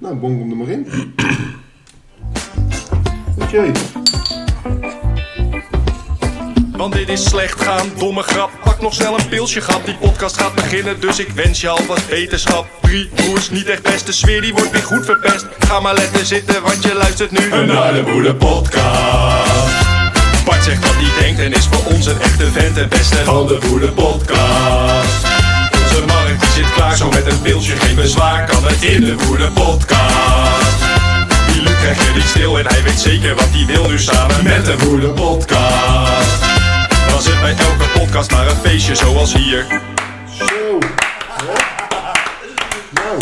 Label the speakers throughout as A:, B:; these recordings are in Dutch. A: Nou, bonk hem er maar in. Oké.
B: Want dit is slecht gaan, domme grap. Pak nog snel een pilsje, grap. Die podcast gaat beginnen, dus ik wens je al wat wetenschap. Drie broers, niet echt best. De sfeer die wordt weer goed verpest. Ga maar letten zitten, want je luistert nu een Boede podcast. Bart zegt wat hij denkt en is voor ons een echte vent en beste van de Boede podcast. Onze markt die zit klaar, zo met een pilsje geen bezwaar kan het in de Boede podcast. Die Luc krijgt weer niet stil en hij weet zeker wat hij wil nu samen met de Boede podcast. Was het bij elke podcast maar een feestje zoals hier?
A: Zo. Nou,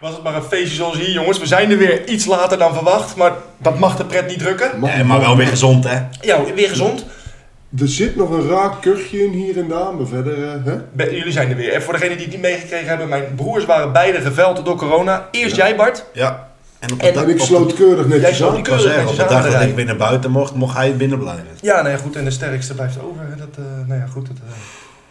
B: Was het maar een feestje zoals hier, jongens? We zijn er weer iets later dan verwacht, maar dat mag de pret niet drukken.
A: mag-
C: Eh, maar wel weer gezond, hè?
B: Ja, weer gezond.
A: er zit nog een raak kuchje in hier en daar, maar verder... eh, hè?
B: Be- jullie zijn er weer. En voor degenen die het niet meegekregen hebben, mijn broers waren beide geveld door corona. Eerst jij, Bart.
C: Ja. En op
B: En-
C: dag-
A: En ik
C: op-
A: sloot keurig
B: Jij
A: netjes
B: sloot
A: aan.
B: die
C: Ik kan
B: keurig
C: zeggen,
B: netjes
C: op de
B: aan de
C: dag dat
B: rij.
C: ik weer naar buiten mocht, mocht hij binnen blijven.
B: Ja, nee, goed. En de sterkste blijft over. hè. Dat, eh, nou ja, goed. Dat, eh,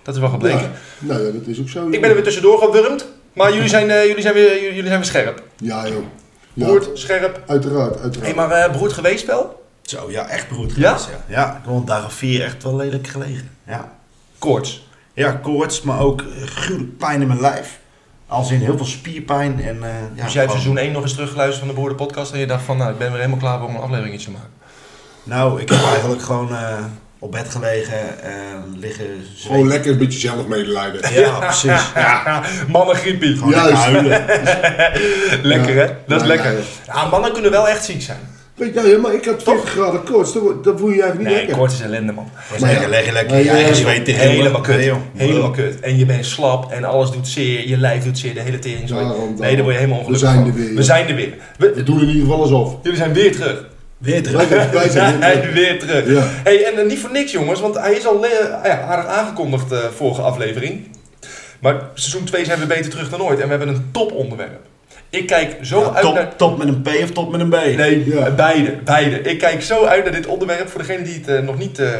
B: dat is wel gebleken.
A: Ja. Nou ja, dat is ook zo.
B: Ik ben er weer tussendoor gewurmd. Maar jullie zijn, eh, jullie zijn, weer, jullie, jullie zijn weer scherp.
A: Ja, joh. Ja,
B: Boerd, scherp.
A: Uiteraard, uiteraard.
B: Hé, maar eh broert geweest wel?
C: Zo, ja, echt broed
B: Ja?
C: geweest, ja. Ja, ik woon dagen vier echt wel lelijk gelegen. Ja.
B: Koorts.
C: Ja, koorts, maar ook eh, gruwelijk pijn in mijn lijf. Als in heel veel spierpijn en... eh,
B: Dus
C: ja,
B: jij hebt
C: gewoon-
B: seizoen 1 nog eens teruggeluisterd van de Boeren Podcast en je dacht van, nou, ik ben weer helemaal klaar voor om een aflevering te maken.
C: Nou, ik heb eigenlijk gewoon eh, op bed gelegen en liggen zweten.
A: Gewoon lekker een beetje zelf medelijden.
C: Ja, precies.
B: Ja, mannengriepie.
C: Gewoon lekker
A: Juist.
C: huilen.
B: Lekker,
A: Ja.
B: hè? Dat
A: Ja,
B: is lekker.
A: ja,
B: Ja, mannen kunnen wel echt ziek zijn.
A: Weet je, ja, maar ik had 40 graden koorts, dat, wo- dat voel je je eigenlijk niet
B: Nee,
A: lekker.
B: koorts is ellende, man.
C: Maar lekker, lekker, lekker.
A: Maar
C: Je
A: ja,
C: eigen
A: joh.
C: zweet te gillen.
B: Helemaal kut.
C: Nee, joh.
B: Helemaal kut. En je bent slap en alles doet zeer. Je lijf doet zeer. De hele tering.
A: Daarom,
B: Nee,
A: daarom.
B: dan word je helemaal
A: We
B: ongelukkig
A: zijn
B: van.
A: er weer,
B: We
A: joh.
B: zijn er weer. We-
A: We doen in ieder geval alsof.
B: jullie zijn weer terug.
C: Weer terug.
A: Wij, wij zijn
B: Hij
A: weer-
B: is weer terug.
A: Ja.
B: Hey, en eh, niet voor niks, jongens, want hij is al eh, ja, aardig aangekondigd eh, vorige aflevering. Maar seizoen 2 zijn we beter terug dan ooit en we hebben een toponderwerp. Ik kijk zo
C: Ja,
B: uit naar.
C: top, top met een P of top met een B?
B: Nee,
A: Ja.
B: beide, beide. Ik kijk zo uit naar dit onderwerp voor degenen die het eh, nog niet, eh,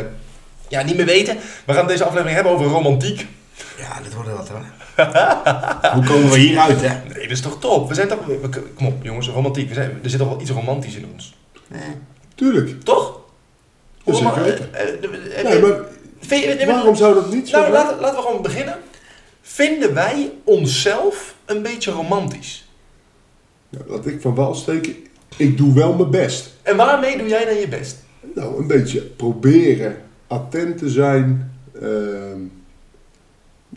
B: ja, niet meer weten. We gaan deze aflevering hebben over romantiek.
C: Ja, dit wordt wat hoor. Hoe komen we hieruit, hè?
B: Nee, dat is toch top? We zijn toch. we- we- kom op, jongens, romantiek. We zijn, er zit toch wel iets romantisch in ons.
A: Tuurlijk.
B: Toch?
A: Dat is
B: Roman-
A: zeker.
B: eh, eh, eh,
A: Nee, maar
B: vind je-
A: waarom zou dat niet zo
B: Nou,
A: zijn?
B: laten, laten we gewoon beginnen. Vinden wij onszelf een beetje romantisch?
A: Nou, laat ik van wal steken. Ik doe wel mijn best.
B: En waarmee doe jij dan je best?
A: Nou, een beetje proberen attent te zijn. Ehm,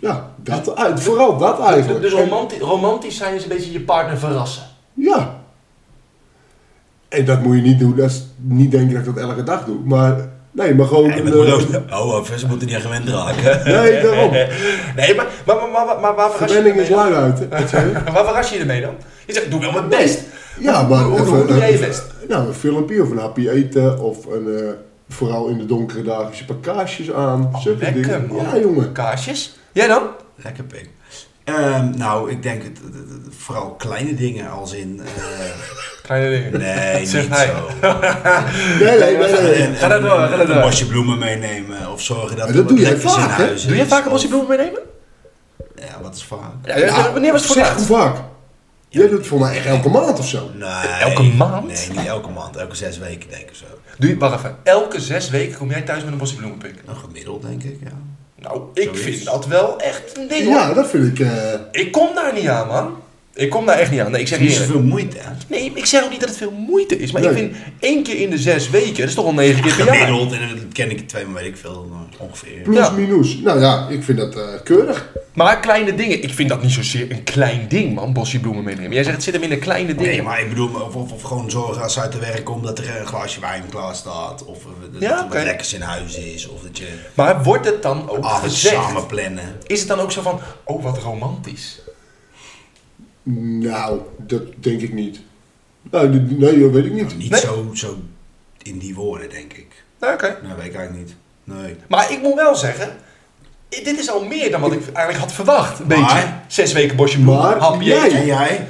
A: ja, dat uit. Vooral dat eigenlijk.
B: Dus
A: En-
B: romanti- romantisch zijn is een beetje je partner verrassen.
A: Ja. En dat moet je niet doen. Dat is niet denken dat ik dat elke dag doe. Maar nee, maar gewoon.
C: En
A: een,
C: dat moet
A: eh,
C: ook... Oh, even, ze moeten niet aan gewend raken.
A: nee, daarom.
B: Nee, maar, maar, maar, maar, maar waar verras je je
A: Verwenning is
B: ermee dan?
A: lui uit. hè. Wat zei je?
B: Waar verras je je ermee dan? Je zegt, doe wel mijn best.
A: Ja, maar
B: Hoe- hoe-
A: even,
B: hoe doe
A: eh,
B: jij je best?
A: Nou, een filmpje of een hapje eten of een, eh, vooral in de donkere dagen, dus je paar kaarsjes aan. zulke
B: Oh, Lekker,
A: dingen.
B: man.
A: Ja, jongen.
B: Kaarsjes. Jij dan?
C: Lekker, Pim. Ehm, nou, ik denk het, het- het- het- vooral kleine dingen als in... eh,
B: Kleine dingen.
C: nee,
B: Zegt
C: niet
B: hij.
C: zo.
A: Nee, nee, nee. nee.
C: En-
B: Ga daar door, ga daar
C: en
B: door.
C: Een bosje bloemen meenemen of zorgen dat
A: Maar
C: er
A: dat
C: wat
A: doe jij
C: lekkers in
A: vaak, hè?
C: huis
B: Doe je
C: is,
B: vaak een bosje
C: of-
B: bloemen meenemen?
C: Ja, wat is vaak?
B: Ja, Eh, wanneer was het voor
A: Zeg,
B: het
A: hoe
B: laatst?
A: vaak? Jij doet het voor mij echt elke maand of zo.
C: Nee.
B: Elke maand?
C: Nee, niet elke maand. Elke zes weken denk ik of zo.
B: Doe je, wacht even. Elke zes weken kom jij thuis met een bosje bloemen pikken.
C: Nou, gemiddeld denk ik, ja.
B: Nou, ik
C: Zoiets.
B: vind dat wel echt een ding, hoor.
A: Ja, dat vind ik. eh,
B: Ik kom daar niet aan, man. Ik kom daar echt niet aan. Nee, ik zeg
C: Niet
B: niet. eerlijk.
C: zoveel moeite, hè?
B: Nee, ik zeg ook niet dat het veel moeite is. Maar ik
A: Nee.
B: vind één keer in de zes weken, dat is toch al negen keer per jaar.
C: Gemiddeld, en dat ken ik twee, maar weet ik veel, maar ongeveer.
A: plus,
B: Ja.
A: minus. Nou ja, ik vind dat eh, keurig.
B: Maar kleine dingen, ik vind dat niet zozeer een klein ding, man. Bosje bloemen meenemen. Jij zegt het zit hem in de kleine dingen.
C: Nee, maar ik bedoel, of, of, of gewoon zorgen als ze uit te werk komt dat er een glaasje wijn klaar staat. Of eh, dat
B: Ja,
C: er
B: oké.
C: wat lekkers in huis is. Of dat je
B: Maar wordt het dan ook
C: avonds
B: gezegd?
C: Ah, samen plannen.
B: Is het dan ook zo van, oh wat romantisch?
A: Nou, dat denk ik niet. Nou, d- nee, dat weet ik niet.
C: Niet
B: Nee.
C: zo, zo in die woorden, denk ik.
B: Nou, Oké.
C: Nou, weet ik eigenlijk niet. Nee.
B: Maar ik moet wel zeggen, i- dit is al meer dan wat ik eigenlijk had verwacht. Een beetje.
C: Maar-
B: Zes weken bosje bloemen,
A: Maar
B: hapje.
A: jij-
C: En jij?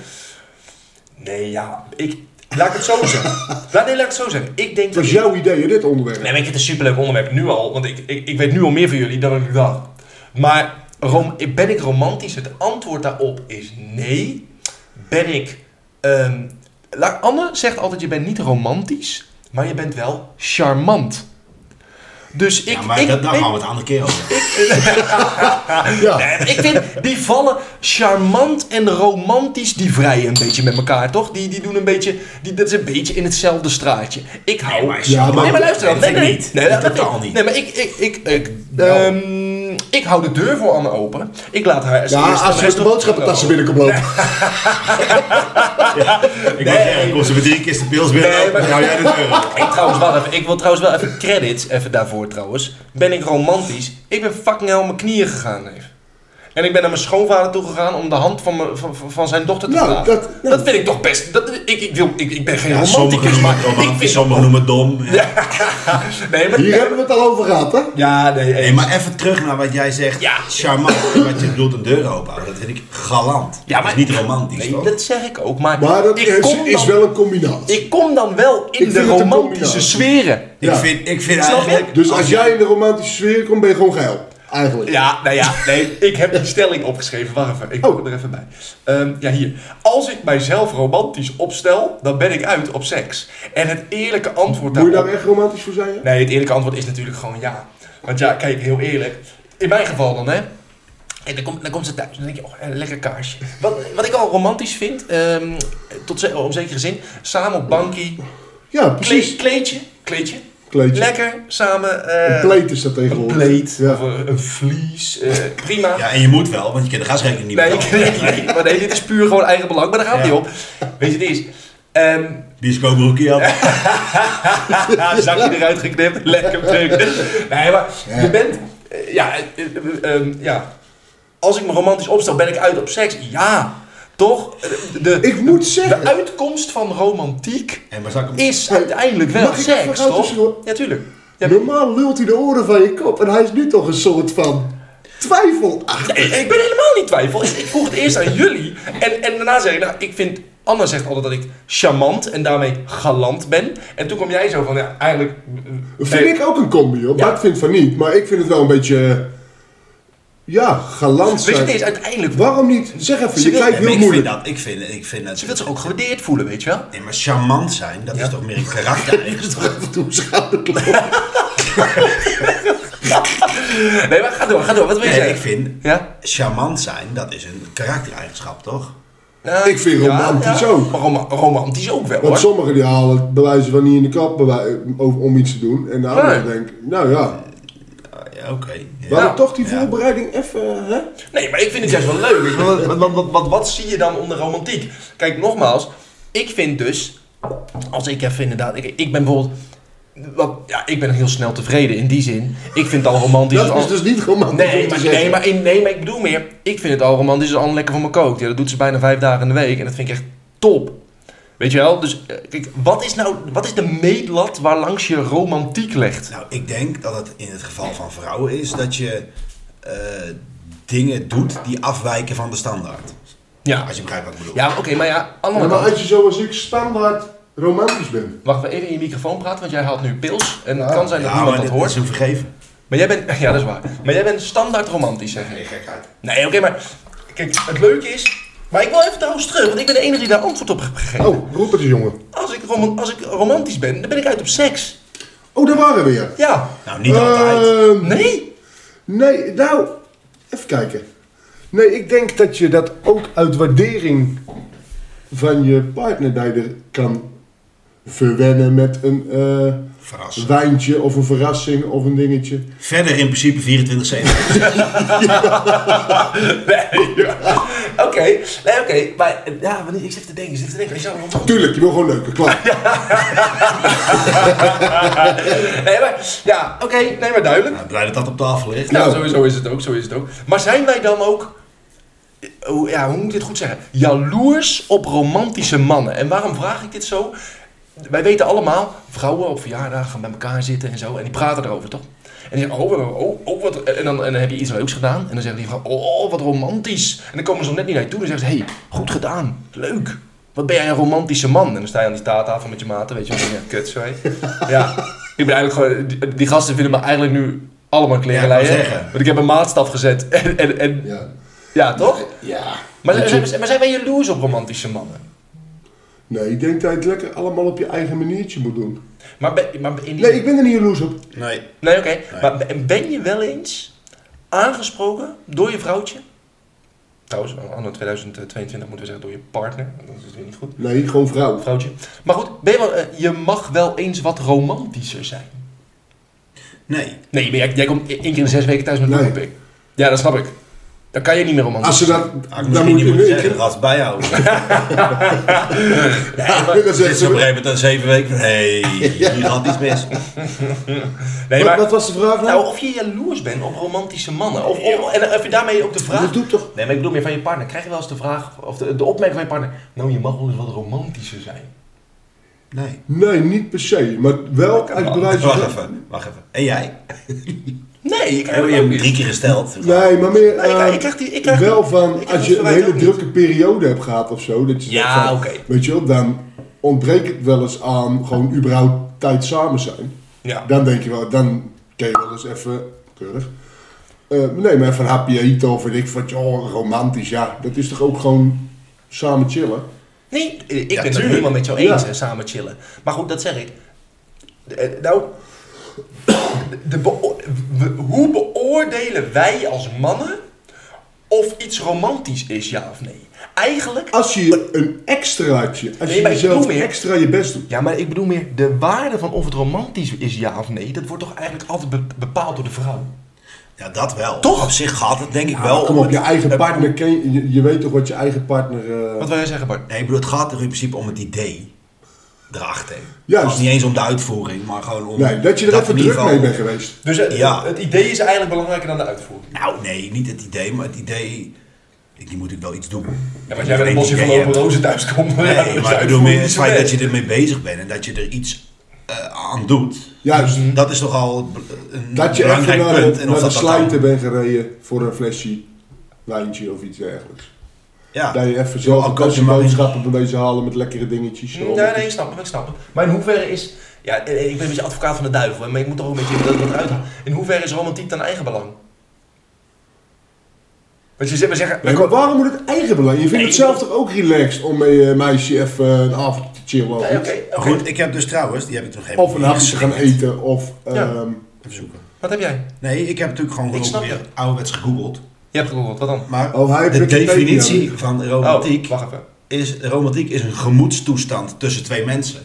B: Nee, ja, ik... Laat ik het zo zeggen. Laat, nee, laat ik het zo zeggen. Ik denk
A: Het was
B: dat
A: jouw idee, hè, dit onderwerp.
B: Nee, maar ik vind het een superleuk onderwerp nu al, want ik, ik, ik weet nu al meer van jullie dan ik dacht. Maar rom, ben ik romantisch? Het antwoord daarop is nee. Ben ik Ehm, La- Anne zegt altijd, je bent niet romantisch, maar je bent wel charmant. Dus ik...
C: ja, maar
B: ik,
C: dat, daar
B: ik-
C: gaan we het andere keer over.
A: Ja,
B: Nee, maar ik vind, die vallen charmant en romantisch, die vrijen een beetje met elkaar, toch? Die, die doen een beetje, die, dat is een beetje in hetzelfde straatje. Ik hou...
C: Nee, maar,
A: Ja, maar-
B: nee, maar luister dan.
C: dat
B: Nee,
C: vind ik
B: nee,
C: niet.
B: Nee, dat dat
C: totaal
B: ik-
C: niet.
B: Nee, maar ik... Ik, ik, ik,
C: Wel.
B: ehm, ik hou de deur voor Anne open. Ik laat haar als
A: ja
B: eerste...
A: als je met de boodschappentas binnenkomt lopen.
C: Ik wou zeggen, kom ze met drie kisten pils binnen.
B: Nee, maar-
C: dan hou jij de deur open.
B: Ik, trouwens, wacht even. ik wil trouwens wel even credits even daarvoor trouwens. Ben ik romantisch? Ik ben fucking helemaal mijn knieën gegaan, neef. En ik ben naar mijn schoonvader toe gegaan om de hand van, mijn- van, van- van zijn dochter te
A: Nou,
B: vragen.
A: dat-
B: Dat,
A: nou.
B: vind ik toch best. Dat, ik, ik, wil, ik, ik ben geen
C: Ja, sommigen
B: romanticus,
C: noemen
B: maar
C: het
B: ik
C: romantisch,
B: vind.
C: sommigen noemen het dom. Ja.
B: Nee, maar.
A: Hier hebben we het al over gehad, hè?
B: Ja, nee,
C: Nee,
B: eens.
C: maar even terug naar wat jij zegt.
B: Ja.
C: Charmant. wat je bedoelt een deur open houden. Dat vind ik galant.
B: Ja, maar-
C: Dat is niet romantisch,
B: Nee,
C: toch?
B: dat zeg ik ook. Maar,
A: Maar dat
B: ik
A: is,
B: kom
A: is
B: dan-
A: wel een combinatie.
B: Ik kom dan wel in
A: Ik
B: de
A: vind het een
B: romantische
A: combinatie.
B: sferen.
A: Ja.
C: Ik vind, ik vind
B: Snap je?
C: eigenlijk...
A: Dus als jij in de romantische sfeer komt, ben je gewoon geil. Eigenlijk.
B: Ja, nou ja, nee, ik heb die stelling opgeschreven. Wacht even, ik pak
A: Oh.
B: hem er even bij. Ehm, ja, hier. Als ik mijzelf romantisch opstel, dan ben ik uit op seks. En het eerlijke antwoord
A: Moet je
B: daarop...
A: daar echt romantisch voor zijn? hè?
B: Nee, het eerlijke antwoord is natuurlijk gewoon ja. Want ja, kijk, heel eerlijk. In mijn geval dan, hè. En dan komt, dan komt ze thuis en dan denk je, oh, een lekker kaarsje. Wat, wat ik al romantisch vind, ehm, tot ze, op zekere zin, samen op bankie,
A: Ja,
B: kleed,
A: precies.
B: kleedje, kleedje,
A: Kleedje.
B: lekker, samen... eh,
A: Een pleet is dat
B: een
A: tegenwoordig.
B: pleed,
A: Ja.
B: of een, een vlies, eh, prima.
C: Ja, en je moet wel, want je kent de gasrekening niet
B: Nee,
C: betalen.
B: ik- nee, maar nee, dit is puur gewoon eigen belang, maar daar gaat het
C: Ja.
B: niet op. Weet je, het is. Ehm
C: Bioscoopbroekje had.
B: ah, zakje eruit geknipt, lekker druk. Nee, maar je bent. eh, ja, eh, eh, ehm, ja, als ik me romantisch opstel, ben ik uit op seks. Ja, toch? Eh, De,
A: Ik moet
B: de
A: zeggen,
B: uitkomst van romantiek
C: En maar zal ik hem...
B: is uiteindelijk wel
A: Mag ik even
B: seks,
A: gauw
B: toch?
A: tussendoor?
B: Ja, tuurlijk. Ja,
A: normaal lult hij de oren van je kop. En hij is nu toch een soort van twijfelachtig.
B: Nee, ik ben helemaal niet twijfel. Ik, ik vroeg het eerst aan jullie. En, en daarna zei ik, nou, ik vind... Anna zegt altijd dat ik charmant en daarmee galant ben. En toen kwam jij zo van, ja, eigenlijk... eh,
A: Vind ik ook een combi, hoor.
B: Ja.
A: Bart vindt van niet. Maar ik vind het wel een beetje... eh, Ja, galant
B: Weet je, het
A: zijn.
B: is uiteindelijk...
A: Waarom niet? Zeg even, je
B: wil-
A: kijkt heel
C: ik vind
A: moeilijk.
C: dat, ik vind, ik vind dat...
B: Ze wil zich ook gewaardeerd voelen, weet je wel?
C: Nee, maar charmant zijn, dat
B: Ja.
C: is toch meer een karakter.
A: Even toe, schouderklop.
B: Nee, maar ga door, ga door. Wat wil je
C: Nee,
B: zeggen?
C: ik vind
B: Ja?
C: charmant zijn, dat is een karaktereigenschap, toch?
B: Ja,
A: Ik vind romantisch ook.
B: Maar roma- romantisch ook wel,
A: Want
B: hoor.
A: sommigen die halen het bewijzen van niet in de kap bewij- om om iets te doen. En de anderen
B: Nee.
A: denken, nou ja,
C: Ah, Ja, oké. Ja.
A: we hadden toch die
C: Ja.
A: voorbereiding even, hè?
B: Nee, maar ik vind het juist wel leuk. weet je wel. Want wat, wat, wat, wat zie je dan onder romantiek? Kijk, nogmaals, ik vind dus, als ik even inderdaad, ik, ik ben bijvoorbeeld, wat, ja, ik ben heel snel tevreden in die zin. Ik vind het al romantisch.
A: Dat
B: als-
A: is dus niet romantisch om
B: Nee,
A: te
B: maar,
A: zeggen.
B: nee, maar, in- nee, maar ik bedoel meer, ik vind het al romantisch als Anne lekker voor me kookt. Ja, dat doet ze bijna vijf dagen in de week en dat vind ik echt top. Weet je wel? Dus eh, kijk, wat is nou, wat is de meetlat waar langs je romantiek legt?
C: Nou, ik denk dat het in het geval van vrouwen is dat je eh, dingen doet die afwijken van de standaard.
B: Ja,
C: Als je begrijpt wat ik bedoel.
B: ja oké, maar ja, aan de
A: Ja,
B: andere
A: maar
B: kant-
A: als je zoals ik standaard romantisch bent.
B: Wacht even even in je microfoon praten, want jij haalt nu pils. En het
A: Ja.
B: kan zijn dat niemand
C: Ja, maar
B: dat
C: dit, dit
B: hoort.
C: is een vergeven.
B: Maar jij bent... Ja, dat is waar. Maar jij bent standaard romantisch, zeg ik.
C: gekheid.
B: Nee, oké, maar... Kijk, het leuke is... Maar ik wil even trouwens terug, want ik ben de enige die daar antwoord op heeft gegeven.
A: Oh, roep het eens, jongen.
B: Als, ik roman- als ik romantisch ben, dan ben ik uit op seks.
A: Oh, daar waren we weer.
B: Ja.
C: Nou, niet altijd.
A: Ehm,
B: Nee?
A: Nee, nou, even kijken. Nee, ik denk dat je dat ook uit waardering van je partner bij de kan verwennen met een eh,
C: Verrassen.
A: wijntje of een verrassing of een dingetje.
C: Verder in principe 24-7.
B: Nee. ja. Oké. Nee, oké. Maar eh, ja, wanneer- ik zit te denken, ik zit te denken. Is dat romantisch?
A: Tuurlijk, je wil gewoon leuker, klaar.
B: Nee, maar... Ja, oké. Nee, maar duidelijk.
C: nou, blij dat dat op tafel ligt.
B: Nou,
A: Nou.
B: sowieso is het ook, zo is het ook. Maar zijn wij dan ook, hoe- ja, hoe moet ik dit goed zeggen, jaloers op romantische mannen? En waarom vraag ik dit zo? Wij weten allemaal, vrouwen op verjaardag gaan bij elkaar zitten en zo, en die praten erover, toch? En die zeggen, oh, oh, oh, oh, wat, en dan, en dan heb je iets leuks gedaan. En dan zeggen die vrouw, oh, wat romantisch. En dan komen ze nog net niet naar je toe en dan zeggen ze, hey, goed gedaan, leuk. Wat ben jij een romantische man? En dan sta je aan die tafel met je maten, weet je wel, en dan denk je, kut, sorry. Ja, ik ben eigenlijk gewoon, die, die gasten vinden me eigenlijk nu allemaal een
C: Ja, ik wou zeggen.
B: want ik heb een maatstaf gezet. En, en, en, ja.
A: Ja.
B: toch?
A: ja.
B: Maar,
A: Weet
B: zijn,
A: je-
B: maar zijn wij jaloers op romantische mannen?
A: Nee, ik denk dat je het lekker allemaal op je eigen maniertje moet doen.
B: Maar, ben, maar in die-
A: Nee, ik ben er niet jaloers op.
C: Nee.
B: Nee, oké.
C: Nee.
B: Maar ben- ben je wel eens aangesproken door je vrouwtje? Trouwens, eh, anno 2022 moeten we zeggen door je partner. want Dat is weer niet goed.
A: Nee, gewoon vrouw.
B: Vrouwtje. Maar goed, ben je, wel, eh, je mag wel eens wat romantischer zijn.
C: Nee.
B: Nee, maar jij, jij komt één keer in de zes weken thuis met een
A: Nee.
B: looping. Ja, dat snap ik. Dan kan je niet meer romantisch.
A: Als ze dat...
C: Had Ah, ik
A: dan
C: misschien
A: moet
C: niet
A: je
C: moeten
A: nu...
C: zeggen, ras bijhouden. Nee, maar
A: dat
C: het
A: zeggen
C: is
A: ze
C: op een
A: wel.
C: gegeven moment na zeven weken van, hé, hier gaat iets mis.
B: nee,
A: Wat,
B: maar,
A: wat was de vraag
B: nou,
A: nou?
B: of je jaloers bent op romantische mannen. Of, of- en eh, of je daarmee ook de vraag...
A: Dat doet toch...
B: Nee, maar ik bedoel meer van je partner. Krijg je wel eens de vraag, of de, de opmerking van je partner... Nou, je mag wel eens wat romantischer zijn.
C: Nee.
A: Nee, niet per se. Maar wel
B: Lekker
A: uit
B: man.
A: bewijs
C: Wacht
A: van...
C: even, wacht even. En jij?
B: Nee, ik
C: Hebben
B: krijg
C: je
B: ook
C: hem
B: niet.
C: drie keer gesteld?
A: Nee, maar meer...
B: Nee, ik-
A: eh,
B: ik krijg die- ik krijg
A: wel
B: die- ik
A: van,
B: krijg
A: als
B: die
A: je een
B: verwijt
A: hele
B: ook niet.
A: drukke periode hebt gehad of zo, dat je zegt
B: Ja,
A: van,
B: oké.
A: weet je wel, dan ontbreekt het wel eens aan gewoon überhaupt tijd samen zijn.
B: Ja.
A: Dan denk je wel, dan kun je wel eens even, keurig, Eh nee, maar even een hapje eten of weet ik wat, oh, romantisch, ja, dat is toch ook gewoon samen chillen?
B: Nee, ik ben het
C: tuurlijk.
B: helemaal met jou eens
A: Ja.
B: en samen chillen. Maar goed, dat zeg ik. Eh, Nou, de beo- we- hoe beoordelen wij als mannen of iets romantisch is, ja of nee? Eigenlijk,
A: Als je een extraatje, als
B: Nee,
A: je
B: maar ik
A: jezelf
B: bedoel meer-
A: extra je best doet.
B: ja, maar ik bedoel meer de waarde van of het romantisch is, ja of nee. Dat wordt toch eigenlijk altijd be- bepaald door de vrouw.
C: Ja, dat wel.
B: Toch?
C: Op zich gaat het denk ik wel
A: Ah, Kom
C: om
A: op,
C: het-
A: je eigen partner, ken je, je- je weet toch wat je eigen partner... eh,
B: Wat wil jij zeggen, Bart?
C: Nee, ik bedoel, het gaat er in principe om het idee erachter.
A: Juist.
C: Het is niet eens om de uitvoering, maar gewoon om...
A: nee, dat je er even
C: in
A: druk
C: ieder geval-
A: mee bent geweest.
B: Dus eh,
C: Ja.
B: het idee is eigenlijk belangrijker dan de uitvoering.
C: Nou, nee, niet het idee, maar het idee... Ik, die moet ik wel iets doen.
B: Ja, maar als jij met een
C: Ik
B: bosje
C: idee
B: van open
C: heb.
B: rozen thuis komt, dan ja, dan is
C: Nee,
B: de
C: maar ik bedoel
B: uitvoering
C: meer
B: niet
C: het
B: zo
C: feit
B: best.
C: dat je ermee bezig bent en dat je er iets eh, aan doet.
A: Juist.
C: Dat is toch al een
A: Dat je even
C: Mhm. belangrijk
A: naar,
C: punt.
A: de, naar de
C: dat dan-
A: slijter bent gereden voor een flesje wijntje of iets dergelijks.
C: Ja.
A: Dat je even
C: Ja,
A: zelf
C: Ah. ook
A: een
C: als je
A: kastje
C: maar in-
A: boodschappen bij deze halen met lekkere dingetjes.
B: Nee, nee, ik snap hem, ik snap hem. Maar in hoeverre is... Ja, eh, eh, ik ben een beetje advocaat van de duivel, hè, maar ik moet toch ook een beetje dat, dat uithalen. In hoeverre is romantiek dan eigenbelang? Want je zit maar zeggen...
A: Nee, maar waarom moet het eigen belang? Je vindt
B: Nee,
A: het zelf
B: ik-
A: toch ook relaxed om met je meisje even een avond te chillen of,
B: Nee,
A: iets?
B: oké, oh, oké.
C: Goed, ik heb dus trouwens, die heb ik nog even
A: of een hapje te gaan eten of...
B: Ja.
A: ehm,
C: Even zoeken.
B: Wat heb jij?
C: Nee, ik heb natuurlijk gewoon
B: Ik snap
C: weer
B: het.
C: ouderwets gegoogeld.
B: Je hebt gehoord, wat dan?
C: Maar
A: Oh, hij heeft
C: de
A: Wikipedia.
C: definitie van romantiek
B: Oh, wacht even.
C: is romantiek is een gemoedstoestand tussen twee mensen.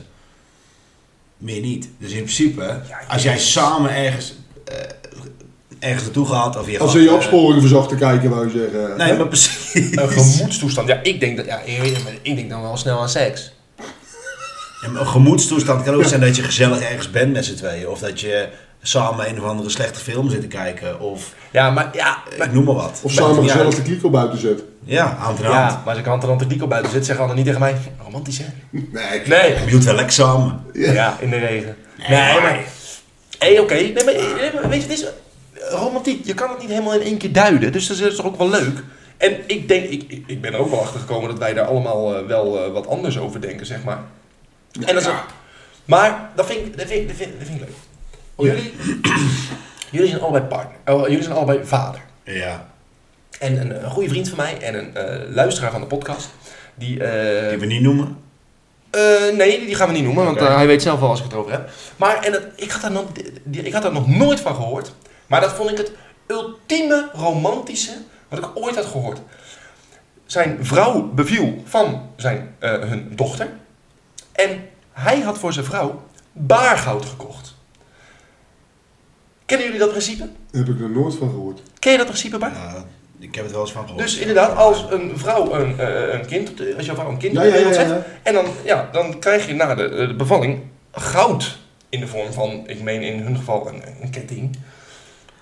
C: Meer niet. Dus in principe, als jij samen ergens, eh, ergens naartoe gaat of je
A: als
C: gaat,
A: ze je
C: eh,
A: opsporing verzocht te kijken, wou je zeggen.
C: Nee,
A: hè?
C: maar precies.
B: Een gemoedstoestand. Ja, ik denk, dat, ja, ik weet het, maar ik denk dan wel snel aan seks.
C: Ja, maar Een gemoedstoestand kan ook zijn dat je gezellig ergens bent met z'n tweeën. Of dat je samen een of andere slechte film zit te kijken. Of
B: Ja, maar... Ja,
C: eh,
B: maar
C: ik noem maar wat.
A: Of
C: Maakt
A: samen
C: niet
A: gezellig
C: uit.
A: de kliek op buiten zet.
C: Ja, hand in hand.
B: ja, maar als ik hand en hand de kliek op buiten zit, zeggen anderen niet tegen mij... Romantisch, hè?
A: Nee,
B: Nee.
C: Je doet wel lekker samen.
B: Ja, in de regen. Nee, maar... Hé, oké. Nee, maar, nee, maar weet je, het is eh, romantiek. Je kan het niet helemaal in één keer duiden. Dus dat is toch ook wel leuk. En ik denk, ik, ik- ik ben er ook wel achter gekomen dat wij daar allemaal eh, wel eh, wat anders over denken, zeg maar. en dat is- maar dat vind, ik, dat, vind, ik- dat, vind, dat vind ik leuk. Jullie, jullie zijn allebei partner. Oh, jullie zijn allebei vader.
C: Ja,
B: En een, een goede vriend van mij en een eh, luisteraar van de podcast. Die, eh,
C: die we niet noemen.
B: eh, nee, die gaan we niet noemen, want
C: Oké.
B: eh, hij weet zelf wel als ik het over heb. Maar en dat, ik, had daar nog, die- ik had daar nog nooit van gehoord. Maar dat vond ik het ultieme romantische wat ik ooit had gehoord. Zijn vrouw beviel van zijn, eh, hun dochter. En hij had voor zijn vrouw baargoud gekocht. Kennen jullie dat principe?
A: Heb ik er nooit van gehoord.
B: Ken je dat principe, Bart?
C: Ja, ik heb het wel eens van gehoord.
B: Dus inderdaad, als een vrouw een, eh, een kind, op de- als jouw vrouw een kind
A: Ja,
B: op de
A: ja, ja,
B: wereld
A: ja,
B: zet, en dan, ja, dan krijg je na de, eh, de bevalling goud in de vorm van, ik meen in hun geval een, een ketting,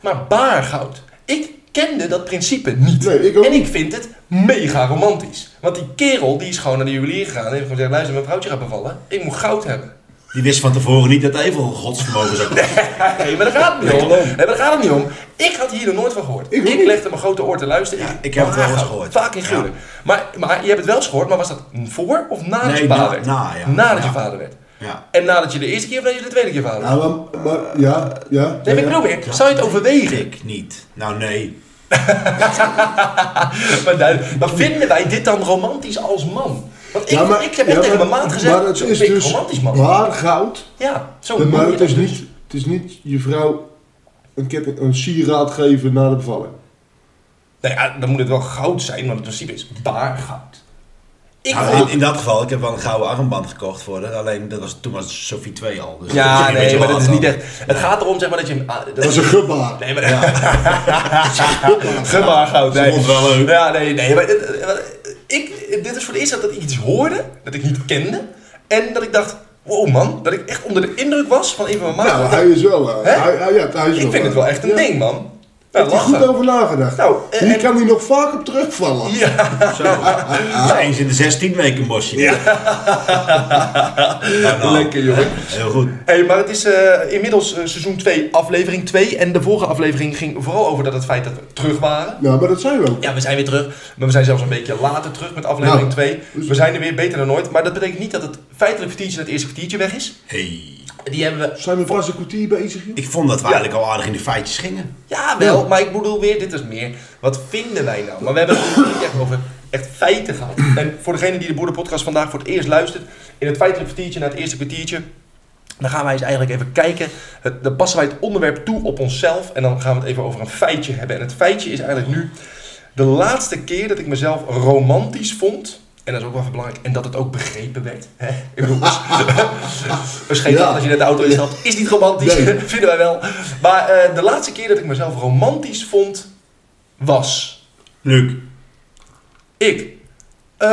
B: maar baar goud. Ik kende dat principe niet.
A: Nee, ik ook
B: en ik vind het mega romantisch. Want die kerel die is gewoon naar de juwelier gegaan en heeft gewoon gezegd, luister, mijn vrouwtje gaat bevallen, ik moet goud hebben.
C: Die wist van tevoren niet dat hij even een godsvermogen zou hebben.
B: Nee, maar daar gaat het niet om. Nee, maar daar gaat het niet om. Ik had hier nog nooit van gehoord.
A: Ik
B: Ik,
A: ook niet.
B: legde mijn grote oor te luisteren.
C: Ja, ik heb het wel eens
B: Waaghout,
C: gehoord.
B: Vaak in Gulden.
C: Ja.
B: Maar, maar je hebt het wel eens gehoord, maar was dat voor of nadat
C: Nee,
B: je
C: na-
B: vader werd?
C: na, ja.
B: Nadat je
C: Ja.
B: vader werd.
C: Ja.
B: En nadat je de eerste keer of nadat je de tweede keer vader werd?
A: Ja, maar, maar ja, ja.
B: Nee, maar ik
A: ja.
B: bedoel meer, zou je het overwegen?
C: Ik niet. Nou, nee.
B: maar, duidelijk, maar vinden wij dit dan romantisch als man? Want ik,
A: Ja, maar-
B: ik heb
A: ja,
B: echt tegen
A: maar-
B: mijn maat gezegd,
A: maar het
B: "Joh,
A: is
B: ben ik
A: dus
B: romantisch man.
A: waar goud.
B: Ja, zo moet
A: maar
B: je
A: het
B: dat
A: is,
B: dus.
A: niet, het is niet je vrouw een, ketting, een sieraad geven na de bevalling.
B: Nou ja, dan moet het wel goud zijn, want het principe is baar goud. Ik
C: Nou,
B: wil-
C: in, in dat geval, ik heb wel een gouden armband gekocht voor haar. Alleen dat was, toen was Sophie 2 al. Dus
B: Ja,
C: dat is een
B: nee,
C: beetje
B: maar dat
C: laat
B: is niet
C: dan.
B: echt... Het gaat erom, zeg maar, dat je... hem a-
A: Dat is een gebaar.
B: Nee, maar... Gebaar goud,
C: Ze
B: nee.
C: vond het wel leuk.
B: eh, Ja, nee, nee, maar... dit- eh, Ik, dit is voor het eerst dat ik iets hoorde, dat ik niet kende. En dat ik dacht, wow man, dat ik echt onder de indruk was van een van mijn maten.
A: Nou, hij is wel. eh,
B: Hè?
A: Hij, hij, ja, hij is
B: ik vind het wel echt een
A: Ja.
B: ding, man. Ja,
A: Heeft hij goed
B: lachen.
A: over nagedacht.
B: Nou, eh,
A: Hier
B: en-
A: kan hij nog vaak op terugvallen.
B: Ja,
C: Zo. Dat is eens in de 16 weken een bosje. Ja, nou,
B: lekker jongen.
C: Heel goed.
B: Hey, maar het is eh, inmiddels eh, seizoen 2, aflevering 2. En de vorige aflevering ging vooral over dat het feit dat we terug waren.
A: Nou, maar dat zijn we ook.
B: Ja, we zijn weer terug. Maar we zijn zelfs een beetje later terug met aflevering
A: Nou.
B: 2. We zijn er weer beter dan ooit. Maar dat betekent niet dat het feitelijk kwartiertje, dat eerste kwartiertje weg is.
C: Hey.
B: Die hebben we...
A: Zijn we pas een kwartier bezig? joh?
C: Ik vond dat we
B: Ja.
C: eigenlijk al aardig in de feitjes gingen.
B: Ja, wel.
A: Ja.
B: Maar ik bedoel weer, dit is meer. Wat vinden wij nou? Maar we hebben het niet echt over echt feiten gehad. En voor degene die de Boerenpodcast vandaag voor het eerst luistert. In het feitelijk kwartiertje, naar het eerste kwartiertje. Dan gaan wij eens eigenlijk even kijken. Het, dan passen wij het onderwerp toe op onszelf. En dan gaan we het even over een feitje hebben. En het feitje is eigenlijk nu de laatste keer dat ik mezelf romantisch vond. En dat is ook wel even belangrijk. En dat het ook begrepen werd. Hè? Ik bedoel, misschien
A: Ja.
B: als je net de auto instapt, is niet romantisch.
A: Nee.
B: Vinden wij wel. Maar eh, de laatste keer dat ik mezelf romantisch vond, was
C: Leuk.
B: ik. Ehm,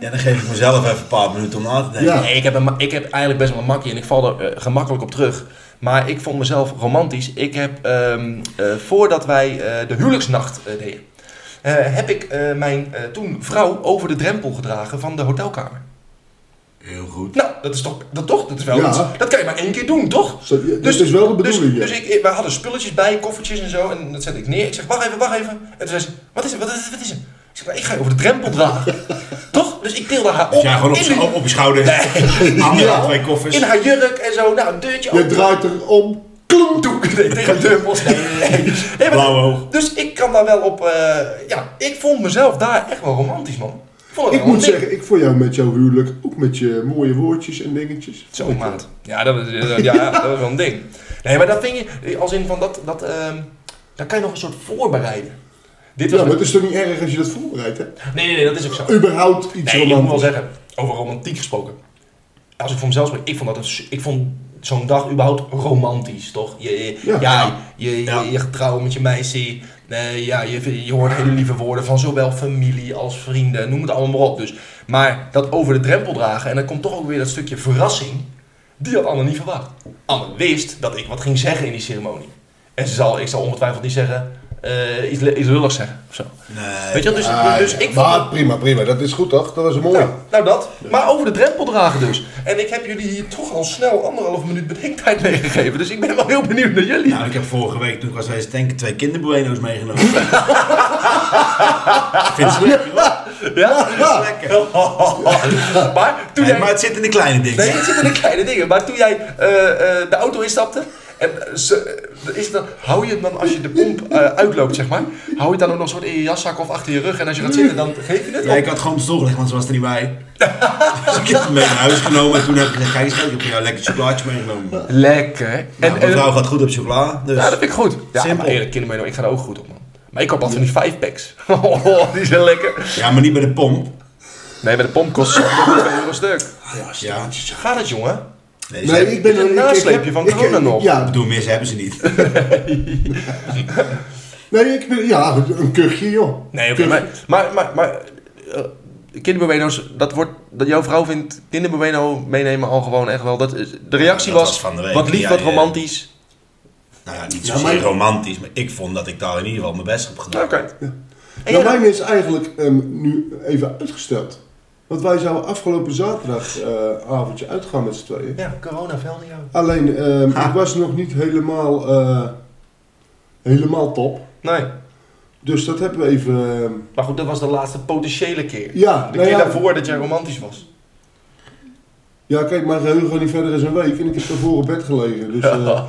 C: Ja, dan geef ik mezelf even een paar minuten om na te denken.
A: Ja.
B: Nee, ik heb, een, ma- ik heb eigenlijk best wel een makkie en ik val er eh, gemakkelijk op terug. Maar ik vond mezelf romantisch. Ik heb, ehm, eh, voordat wij eh, de huwelijksnacht eh, deden, eh, heb ik eh, mijn eh, toen vrouw over de drempel gedragen van de hotelkamer.
C: Heel goed.
B: Nou, dat is toch, dat, toch, dat is wel
A: Ja.
B: iets. Dat kan je maar één keer doen, toch?
A: Zo, ja, dit is wel de bedoeling, ja.
B: Dus, dus ik, wij hadden spulletjes bij, koffertjes en zo. En dat zette ik neer. Ik zeg, wacht even, wacht even. En toen zei ze, wat is het, wat is het, wat is het? Ik zeg, nou, ik ga je over de drempel dragen. toch? Dus ik tilde haar op.
C: Dus jij gewoon op,
B: in
C: je-
B: de-
C: op, op je schouder. Handen aan twee koffers.
B: in haar jurk en zo. Nou, een deurtje
A: Je
B: open.
A: draait er om.
B: Klom, doe ik nee, tegen de deurbos. Nee, nee, nee. Nee, maar-
C: Blauwe oog.
B: Dus ik kan daar wel op... eh, ja, ik vond mezelf daar echt wel romantisch, man. Ik vond het
A: Ik
B: wel
A: moet
B: een ding.
A: zeggen, ik vond jou met jouw huwelijk, ook met je mooie woordjes en dingetjes.
B: Zo, maat. Ja, dat was, eh, ja, dat was wel een ding. Nee, maar dat vind je... eh, Als in van dat... dat ehm daar kan je nog een soort voorbereiden. Dit was...
A: Ja, maar het is toch niet erg als je dat voorbereidt, hè?
B: Nee, nee, nee, dat is ook zo.
A: Überhaupt iets
B: Nee, ik moet wel
A: romantisch.
B: zeggen, over romantiek gesproken. Als ik voor mezelf spreek, ik vond, dat een su- ik vond zo'n dag überhaupt romantisch, toch? Je, je- ja.
A: Ja.
B: je, je,
C: Ja.
B: je gaat trouwen met je meisje. eh, ja, je, je hoort hele lieve woorden van zowel familie als vrienden. Noem het allemaal maar op. Dus. Maar dat over de drempel dragen, en dan komt toch ook weer dat stukje verrassing. Die had Anne niet verwacht. Anne wist dat ik wat ging zeggen in die ceremonie. En ze zal, ik zal ongetwijfeld niet zeggen, eh, iets, le- iets lulligs zeggen of zo. Weet je wel, dus,
A: Ah,
B: dus
A: ja.
B: ik vond
A: maar prima, prima. Dat is goed, toch? Dat was mooi.
B: nou, nou dat. Maar over de drempel dragen dus. En ik heb jullie hier toch al snel anderhalf minuut bedenktijd meegegeven. Dus ik ben wel heel benieuwd naar jullie.
C: Nou, ik heb vorige week, toen ik was wezen tanken, twee kinderbueno's meegenomen. Ik vind ze lekker, hoor.
B: ja?
C: Lekker.
B: maar toen
C: Nee,
B: jij...
C: maar het zit in de kleine dingen.
B: Nee, het zit in de kleine dingen. Maar toen jij eh, eh, de auto instapte... En eh, ze, is dat, hou je het dan als je de pomp eh, uitloopt, zeg maar? Hou je het dan ook nog soort in je jaszak of achter je rug? En als je gaat zitten, dan geef je het?
C: Ja,
B: op?
C: ik had gewoon op de stoel gelegd, want ze was er niet bij. Dus ik heb hem mee naar huis genomen en toen heb ik gezegd, kijk eens, ik heb voor jou lekker chocolaatje meegenomen. Nou,
B: Lekker. En,
C: mijn vrouw gaat goed op chocola, dus...
B: Ja, dat vind ik goed. Ja,
C: Simpel.
B: maar eerlijk, kindermenu, ik ga er ook goed op, man. Maar ik koop altijd van die vijf packs. Oh, die zijn lekker.
C: Ja, maar niet bij de pomp.
B: Nee, maar de pomp kost 2 euro stuk.
C: Ja.
B: Gaat het, jongen?
C: Nee, ze
A: Nee,
C: hebben-
A: ik ben
B: Dit is een
A: ik- ik heb-
B: nasleepje van
A: ik-
B: corona
A: ik-
B: nog.
C: Ik
A: Ja,
C: bedoel, meer ze hebben ze niet.
A: nee, ik ben, ja, een kuchje, joh.
B: Nee, oké,
A: Kuchje.
B: maar... Maar, maar, maar eh, kinderbueno's, dat wordt... Dat jouw vrouw vindt kinderbueno meenemen al gewoon echt wel... Dat, is- de reactie
C: Dat
B: was,
C: was van de week,
B: wat lief,
C: ja,
B: wat
C: ja.
B: romantisch.
C: Nou ja, niet
A: Ja,
C: zozeer
A: maar-
C: romantisch, maar ik vond dat ik daar in ieder geval mijn best op gedaan.
B: Oké. En
A: Nou,
B: jij dan?
A: mijn is eigenlijk ehm, nu even uitgesteld. Want wij zouden afgelopen zaterdag eh, avondje uitgaan met z'n tweeën.
B: Ja, corona velde jou.
A: Alleen, ehm,
C: Ha.
A: ik was nog niet helemaal, eh, helemaal top.
B: Nee,
A: Dus dat hebben we even... ehm,
B: maar goed, dat was de laatste potentiële keer.
A: ja,
B: De
A: nou
B: keer
A: ja,
B: daarvoor dat jij romantisch was.
A: ja, kijk, mijn geheugen niet verder is een week en ik heb daarvoor op bed gelegen. Dus, eh,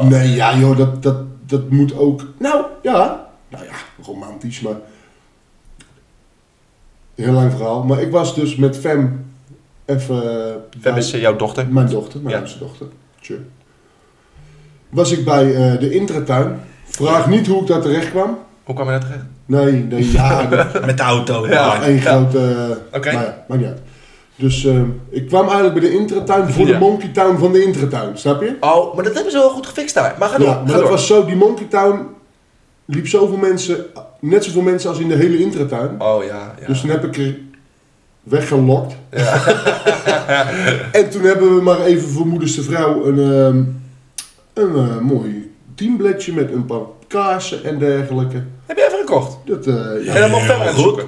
A: nee, ja joh, dat, dat, dat moet ook... Nou, ja. Nou ja, romantisch, maar... Heel lang verhaal. Maar ik was dus met Fem even... eh,
B: Fem
A: bij-
B: is eh, jouw dochter.
A: Mijn dochter, mijn
B: Ja.
A: oudste dochter. Tje. Was ik bij eh, de intratuin. Vraag niet hoe ik daar terecht kwam.
B: Hoe kwam je daar terecht?
A: Nee, nee, ja, dat-
C: Met de auto.
B: Ja.
A: Eén grote... eh,
B: Oké.
A: Maar ja, maakt niet uit. Dus eh, ik kwam eigenlijk bij de intratuin voor
B: Ja.
A: de Monkey Town van de intratuin, snap je?
B: Oh, maar dat hebben ze wel goed gefixt daar. Maar ga door.
A: Ja, maar
B: ga
A: dat
B: door.
A: was zo, die Monkey Town liep zoveel mensen, net zoveel mensen als in de hele intratuin.
B: Oh ja, ja.
A: Dus toen heb ik er weggelokt.
B: Ja.
A: En toen hebben we maar even voor moeders de vrouw een, ehm, een eh, mooi teambledje met een paar kaarsen en dergelijke.
B: Heb je even gekocht?
A: Dat, eh, ja,
B: en dan mocht Fem
C: heel
B: gaan
C: goed.
B: zoeken.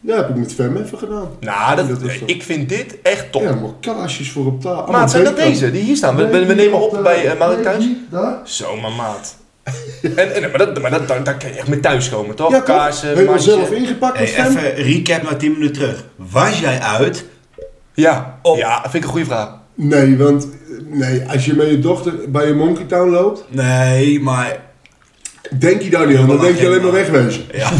A: ja, heb ik met Fem even gedaan.
B: Nou, dat,
A: Dat is toch-
B: ik vind dit echt top.
A: Ja, maar kaarsjes voor op tafel.
B: maat, Oh. zijn dat deze? Die hier staan. We, we, we nemen op bij eh Mark thuis.
A: Daar.
B: Zo, maar maat. en, en, maar dat, maar dat, daar, daar kan je echt mee thuis komen, toch?
A: Ja, toch?
B: Kaarsen,
A: Helemaal
B: mandje.
A: zelf ingepakt met
C: Hey,
A: Fem.
C: even recap naar 10 minuten terug. Was jij uit?
B: Ja.
A: Oh.
C: Op.
B: ja, vind ik een goede vraag.
A: Nee, want eh, nee, als je met je dochter bij een Monkey Town loopt,
C: Nee, maar...
A: denk je daar niet aan. Dan denk je alleen maar wegwezen.
C: Ja.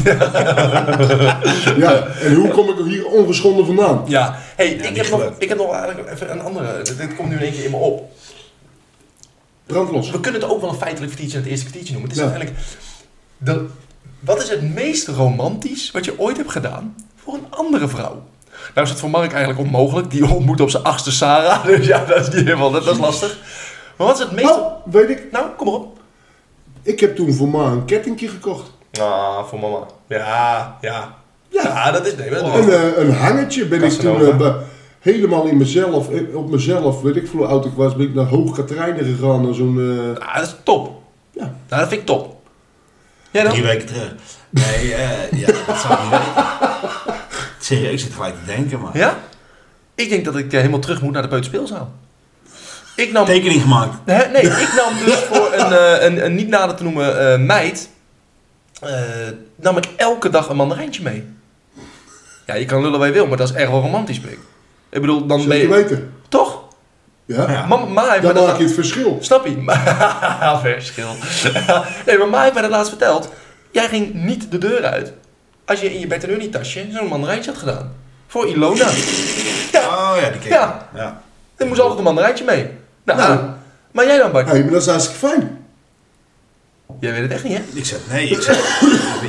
A: Ja, en hoe kom ik er hier ongeschonden vandaan?
B: Ja, hey, ik,
C: niet
B: heb nog,
C: gelukt.
B: ik heb nog eigenlijk even een andere. Dit, dit komt nu in één keer in me op.
A: Brandlos.
B: We kunnen het ook wel een feitelijk kwartiertje en het eerste kwartiertje noemen. Het is
A: Ja.
B: uiteindelijk. De, wat is het meest romantisch wat je ooit hebt gedaan voor een andere vrouw? Nou is het voor Mark eigenlijk onmogelijk. Die ontmoet op zijn achtste Sarah. Dus ja, dat is niet helemaal. Dat, dat is lastig. Maar wat is het meest.
A: Nou, weet ik.
B: Nou, kom maar op.
A: Ik heb toen voor ma een kettingje gekocht.
B: Ah, voor mama. Ja, ja. Ja,
A: Ja.
B: dat is. Nee, dat is
A: Een, eh, een hangetje ben ik toen
B: Casanova.
A: eh, bij- helemaal in mezelf, eh, op mezelf, weet ik veel hoe oud ik was, ben ik naar Hoog Katrijnen gegaan. Naar zo'n, eh,
B: Ah, dat is top.
A: Ja.
B: Nou, dat vind ik top. Jij dan?
C: Drie weken terug. Nee, eh, ja, dat zou ik niet weten. Serieus, ik zit gelijk te denken, maar...
B: Ja? Ik denk dat ik eh, helemaal terug moet naar de peuterspeelzaal. Ik nam...
C: Tekening gemaakt.
B: Hè? nee, ik nam dus voor een, eh, een, een niet nader te noemen eh, meid... eh, nam ik elke dag een mandarijntje mee. Ja, je kan lullen waar je wil, maar dat is echt wel romantisch, Pik. Ik bedoel, dan ben
A: zeker
B: je...
A: weten.
B: Toch?
A: Ja?
C: Ja.
B: Mama, ma heeft
A: Dan
B: me dat-
A: maak je het verschil.
B: Snap je? Maar- Verschil. nee, maar Ma heeft mij dat laatst verteld. Jij ging niet de deur uit als je in je Bert en Ernie tasje zo'n mandarijntje had gedaan. Voor Ilona. Ja,
C: Oh ja, die ken ik.
B: Ja.
C: ja.
B: er moest altijd een mandarijntje mee. Nou,
A: Nou.
B: maar jij dan, Bart?
A: Hé, maar dat is hartstikke fijn.
B: Jij weet het echt niet, hè?
C: Ik zeg nee, ik zeg...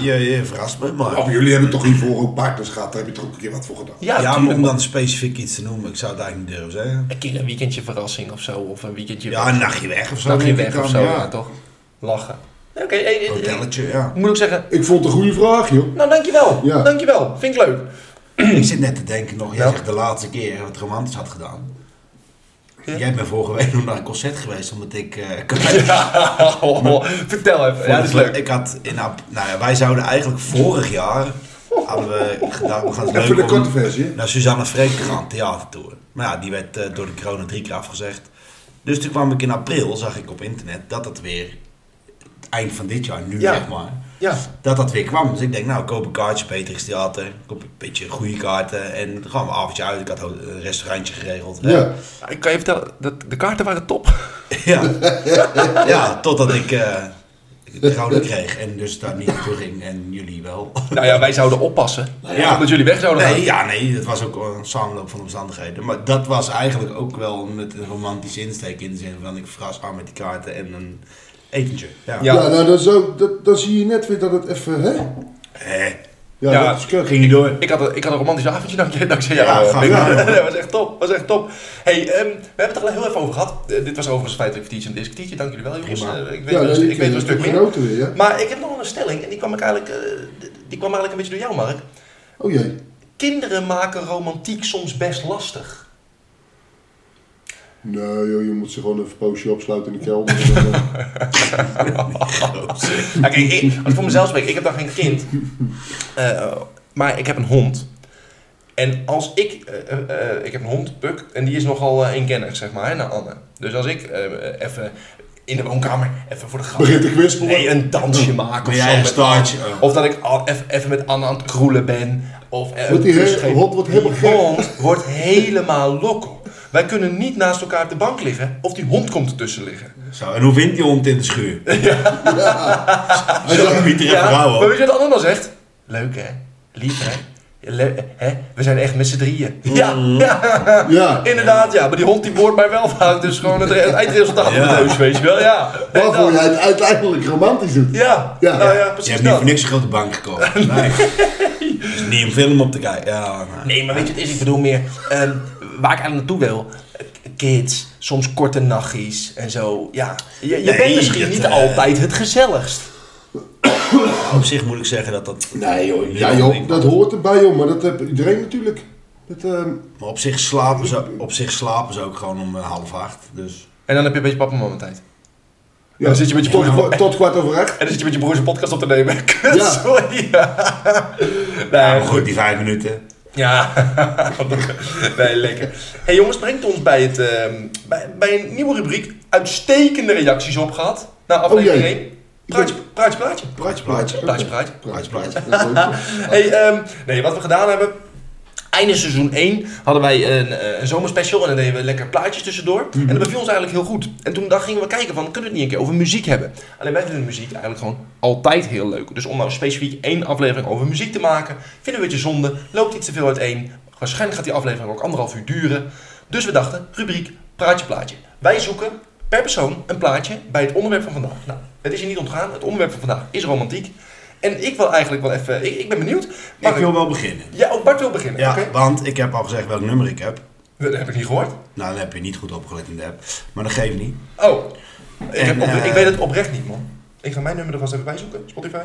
C: je, je verrast me, maar...
A: Oh, jullie hebben toch hiervoor ook partners gehad? Daar heb je toch ook een keer wat voor gedaan?
C: Ja,
B: Ja,
C: maar
B: tuurlijk.
C: om dan specifiek iets te noemen, ik zou het eigenlijk niet durven zeggen.
B: Een keer een weekendje verrassing of zo. Of een weekendje
C: Ja, een nachtje weg of zo.
B: nachtje
C: denk ik
B: weg of
C: dan,
B: zo. Ja, toch? Lachen. Oké, eh, eh, eh,
C: Hotelletje, ja.
B: moet ik zeggen...
A: Ik vond het een goede vraag, joh.
B: Nou, dankjewel.
A: Ja.
B: Dankjewel. Vind ik leuk.
C: Ik zit net te denken nog, jij
B: Hmm. Ja.
C: zegt de laatste keer wat romantisch had gedaan.
B: Ja.
C: Jij bent vorige week nog naar een concert geweest, omdat ik... eh, Carlijn-
B: vertel even. Ja, dat is leuk.
C: dus Ik had in... ap- Nou ja, wij zouden eigenlijk vorig jaar... Hadden we gedacht, we gaan het
A: Even de
C: leuk
A: korte
C: om
A: versie.
C: naar Suzanne Freek te gaan, theatertour. Maar ja, die werd eh, door de corona drie keer afgezegd. Dus toen kwam ik in april, zag ik op internet, dat dat weer... het Eind van dit jaar, nu
B: Ja.
C: zeg maar.
B: Ja.
C: dat dat weer kwam. Dus ik denk, nou, ik koop een kaartje, Petrix Theater. Ik koop een beetje goede kaarten. En dan gaan we een avondje uit. Ik had ho- een restaurantje geregeld. hè.
A: Ja.
B: Ik kan je vertellen, dat de kaarten waren top.
C: ja. Ja, totdat ik eh het gouden kreeg. En dus daar niet naartoe ging. En jullie wel.
B: Nou ja, wij zouden oppassen.
C: Ja.
B: Omdat jullie weg zouden
C: Nee,
B: gaan.
C: ja, nee, dat was ook een samenloop van omstandigheden. Maar dat was eigenlijk ook wel met een romantische insteek. In de zin van, ik verras aan met die kaarten en een etentje. Ja.
B: Ja.
A: Ja, nou, dan, zo, dat, dan zie je net weer dat het even, hè?
C: Hè?
A: Ja,
B: Ja,
A: dat is kut.
C: Eh, Ging je door?
B: Ik had, een, ik had een romantisch avondje dankzij, dankzij
C: Ja,
B: jou.
C: ga maar.
B: Ja, dat was echt top. was echt top. hey, ehm, we hebben het er al heel even over gehad. Eh, dit was overigens feitelijk kwartiertje en dit kwartiertje. Dank jullie wel, jongens.
C: Prima.
B: Eh, ik weet
A: Ja,
B: wel een,
A: ik,
B: stu- ik weet wel een stuk
A: heb
B: meer.
A: genoten weer, ja.
B: Maar ik heb nog wel een stelling en die kwam, ik eigenlijk, eh, die kwam eigenlijk een beetje door jou, Mark.
A: Oh jee.
B: Kinderen maken romantiek soms best lastig.
A: Nee, joh, je moet ze gewoon even een poosje opsluiten in de kelder. En dan, eh,
B: Oké, ik, als ik voor mezelf spreek, ik heb dan geen kind. Eh, maar ik heb een hond. En als ik... eh, eh, eh, ik heb een hond, Puk, en die is nogal eh, eenkennig, zeg maar, hè, naar Anne. Dus als ik eh, eh, even in de woonkamer, even voor de grap...
A: Begint te kwispelen.
B: Nee, een dansje maken
C: Ben
B: of
C: jij
B: zo.
C: een
B: met-
C: staartje? Oh.
B: Of dat ik al even, even met Anne aan het groelen ben. Of, eh,
A: Wordt die
B: een
A: he-
B: kus geven.
A: hond wordt helemaal
B: Die
A: gek.
B: hond wordt helemaal lokko. Wij kunnen niet naast elkaar op de bank liggen of die hond komt ertussen liggen.
C: Zo, en hoe vindt die hond in de schuur?
A: Hij
C: Zo,
A: zegt,
C: Pieter even
B: Ja,
C: houden.
B: maar weet je wat de ander dan zegt? Leuk hè? Lief hè? Le- hè? We zijn echt met z'n drieën.
C: Mm.
B: Ja, ja.
A: Ja.
B: inderdaad, ja. Maar die hond die moord mij wel vaak. Dus gewoon het, re- het eindresultaat
C: Ja.
B: van de deus, weet je wel. Ja,
A: Waarvoor je het uiteindelijk romantisch doet.
B: ja.
A: Ja.
B: nou ja,
C: Je
B: precies
C: hebt niet
B: dat.
C: voor niks een grote bank gekocht. Nee. Dus niet een film op te kijken. Ja, nou. maar-
B: Nee, maar weet je wat het is? Ik bedoel meer, ehm, waar ik eigenlijk naartoe wil. eh, Kids, soms korte nachtjes en zo. Ja, je, je
C: Nee,
B: bent misschien
C: dat,
B: niet
C: eh,
B: altijd het gezelligst.
C: Op zich moet ik zeggen dat dat...
A: Nee joh, ja, joh, dat hoort erbij joh, maar dat heeft iedereen natuurlijk. Dat, ehm,
C: Maar op zich slapen ze, op zich slapen ze ook gewoon om eh, half acht. Dus
B: En dan heb je een beetje papa en mama tijd.
A: ja,
B: Dan zit je met je
A: tot,
B: broer-
A: kwa- tot kwart over acht.
B: En dan zit je met je broers een podcast op te nemen. Kut,
A: Ja.
B: sorry. Ja.
C: maar
B: Nee,
C: goed, die vijf minuten.
B: Ja, nee, lekker. hey jongens, brengt ons bij, het, ehm, bij, bij een nieuwe rubriek. Uitstekende reacties op gehad. Na aflevering
A: jee.
B: 1. Praatje, praatje, praatje.
A: Praatje, praatje.
B: Praatje, praatje.
A: Praatje, praatje. Dat is leuk, joh.
B: Hey, ehm, nee, wat we gedaan hebben. Einde seizoen 1 hadden wij een, eh, een zomerspecial en dan deden we lekker plaatjes tussendoor.
C: Mhm.
B: En dat beviel ons eigenlijk heel goed. En toen dan gingen we kijken van, kunnen we het niet een keer over muziek hebben? Alleen wij vinden muziek eigenlijk gewoon altijd heel leuk. Dus om nou specifiek één aflevering over muziek te maken, vinden we het een zonde. Loopt iets te veel uiteen. Waarschijnlijk gaat die aflevering ook anderhalf uur duren. Dus we dachten, rubriek praatje plaatje. Wij zoeken per persoon een plaatje bij het onderwerp van vandaag. Nou, het is je niet ontgaan. Het onderwerp van vandaag is romantiek. En ik wil eigenlijk wel even, ik, ik ben benieuwd.
C: Ik
B: Mark,
C: wil wel beginnen.
B: ja, oh, Bart wil beginnen.
C: Ja,
B: Oké.
C: want ik heb al gezegd welk nummer ik heb.
B: Dat heb ik niet gehoord.
C: Nou, dan heb je niet goed opgelet in de app. Maar dat geeft niet.
B: Oh. Ik, heb
C: En,
B: opre-
C: eh,
B: ik weet het oprecht niet, man. Ik ga mijn nummer er vast even bij zoeken, Spotify.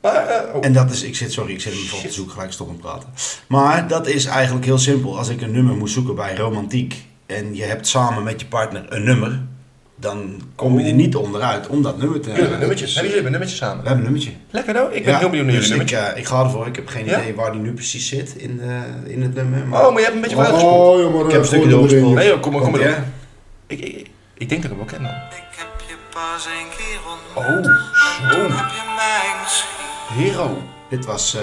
B: Maar, eh, oh.
C: En dat is, ik zit, sorry, ik zit hem vol te zoeken, gelijk stop met praten. Maar dat is eigenlijk heel simpel. Als ik een nummer moet zoeken bij romantiek en je hebt samen met je partner een nummer, dan kom je er niet onderuit om dat nummer te
B: jullie hebben
C: Dus,
B: nummertjes.
C: eh,
B: Hebben jullie een nummertje samen?
C: We hebben een nummertje.
B: Lekker nou, ik ben
C: Ja,
B: heel benieuwd naar
C: dus
B: jullie
C: ik,
B: nummertje.
C: eh, ik ga ervoor, ik heb geen
B: Ja?
C: idee waar die nu precies zit in, de, in het nummer. Maar
B: Oh, maar je hebt een beetje vooruit gespoeld.
A: Oh, joh, maar
C: ik heb een
A: dat hoort
C: stukje
A: erin,
C: doorgespoeld.
A: joh.
B: Nee joh, kom maar, kom maar
C: Want,
B: door.
C: ja,
B: Ik, ik, ik- ik denk dat ik hem wel ken dan.
D: Ik heb je pas een keer ontmoet,
B: Oh, zo.
D: heb je mij misschien?
B: Hero.
C: Dit was eh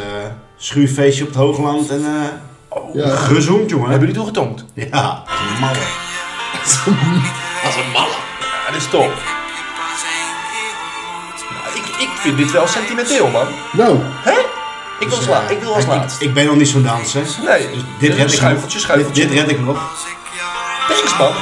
C: schuurfeestje op het Hoogland en eh
B: Oh.
A: Ja.
C: gezoend, jongen.
B: Hebben jullie toegetonkt?
C: Ja, malle.
B: Als een malle. Ja, dat is top.
D: Heb je pas een keer ontmoet?
B: Nou, ik, ik vind dit wel sentimenteel, man.
A: Nou,
B: Hè? Ik wil,
C: Dus,
B: als
C: eh,
B: la- ik wil als
C: ik-
B: laatst.
C: Ik, ik ben nog niet zo'n danser.
B: Nee,
C: Dus
B: dit
C: dit
B: is
C: red ik
B: schuifeltje,
C: nog.
B: schuifeltje.
C: Dit, dit red ik nog.
D: Als ik jou
B: Thanks, man.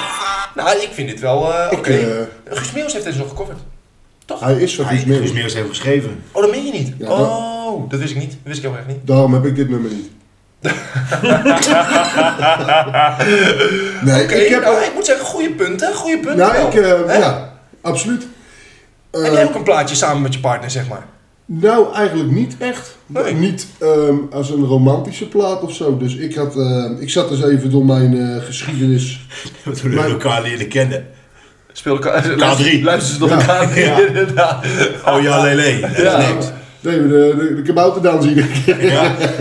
B: Nou, ik vind dit wel eh, oké.
A: eh,
B: Guus Meeuwis heeft deze nog gecoverd.
A: hij is wat iets
C: Hij
A: meer.
C: is meer heeft geschreven.
B: Oh, dat meen je niet?
A: Ja, dat-
B: oh, dat wist ik niet. Dat wist ik heel erg niet.
A: Daarom heb ik dit nummer niet. nee,
B: Oké,
A: ik heb...
B: nou, ik moet zeggen, goede punten. Goede punten wel.
A: nou, ik... eh,
B: Hè?
A: ja, eh, absoluut.
B: Heb jij ook een plaatje samen met je partner, zeg maar?
A: Nou, eigenlijk niet echt.
B: Nee.
A: Niet ehm, als een romantische plaat of zo. Dus ik, had, ehm, ik zat dus even door mijn eh, geschiedenis.
C: Toen we
A: Maar-
C: elkaar leren kennen.
B: Speel elkaar...
C: drie.
B: Luister ze door
A: Ja.
B: elkaar.
C: Ja.
B: inderdaad.
C: Oh ja, lele. Dat
B: Ja.
C: is niks.
A: Nee, de, de, de kabouterdans iedere keer.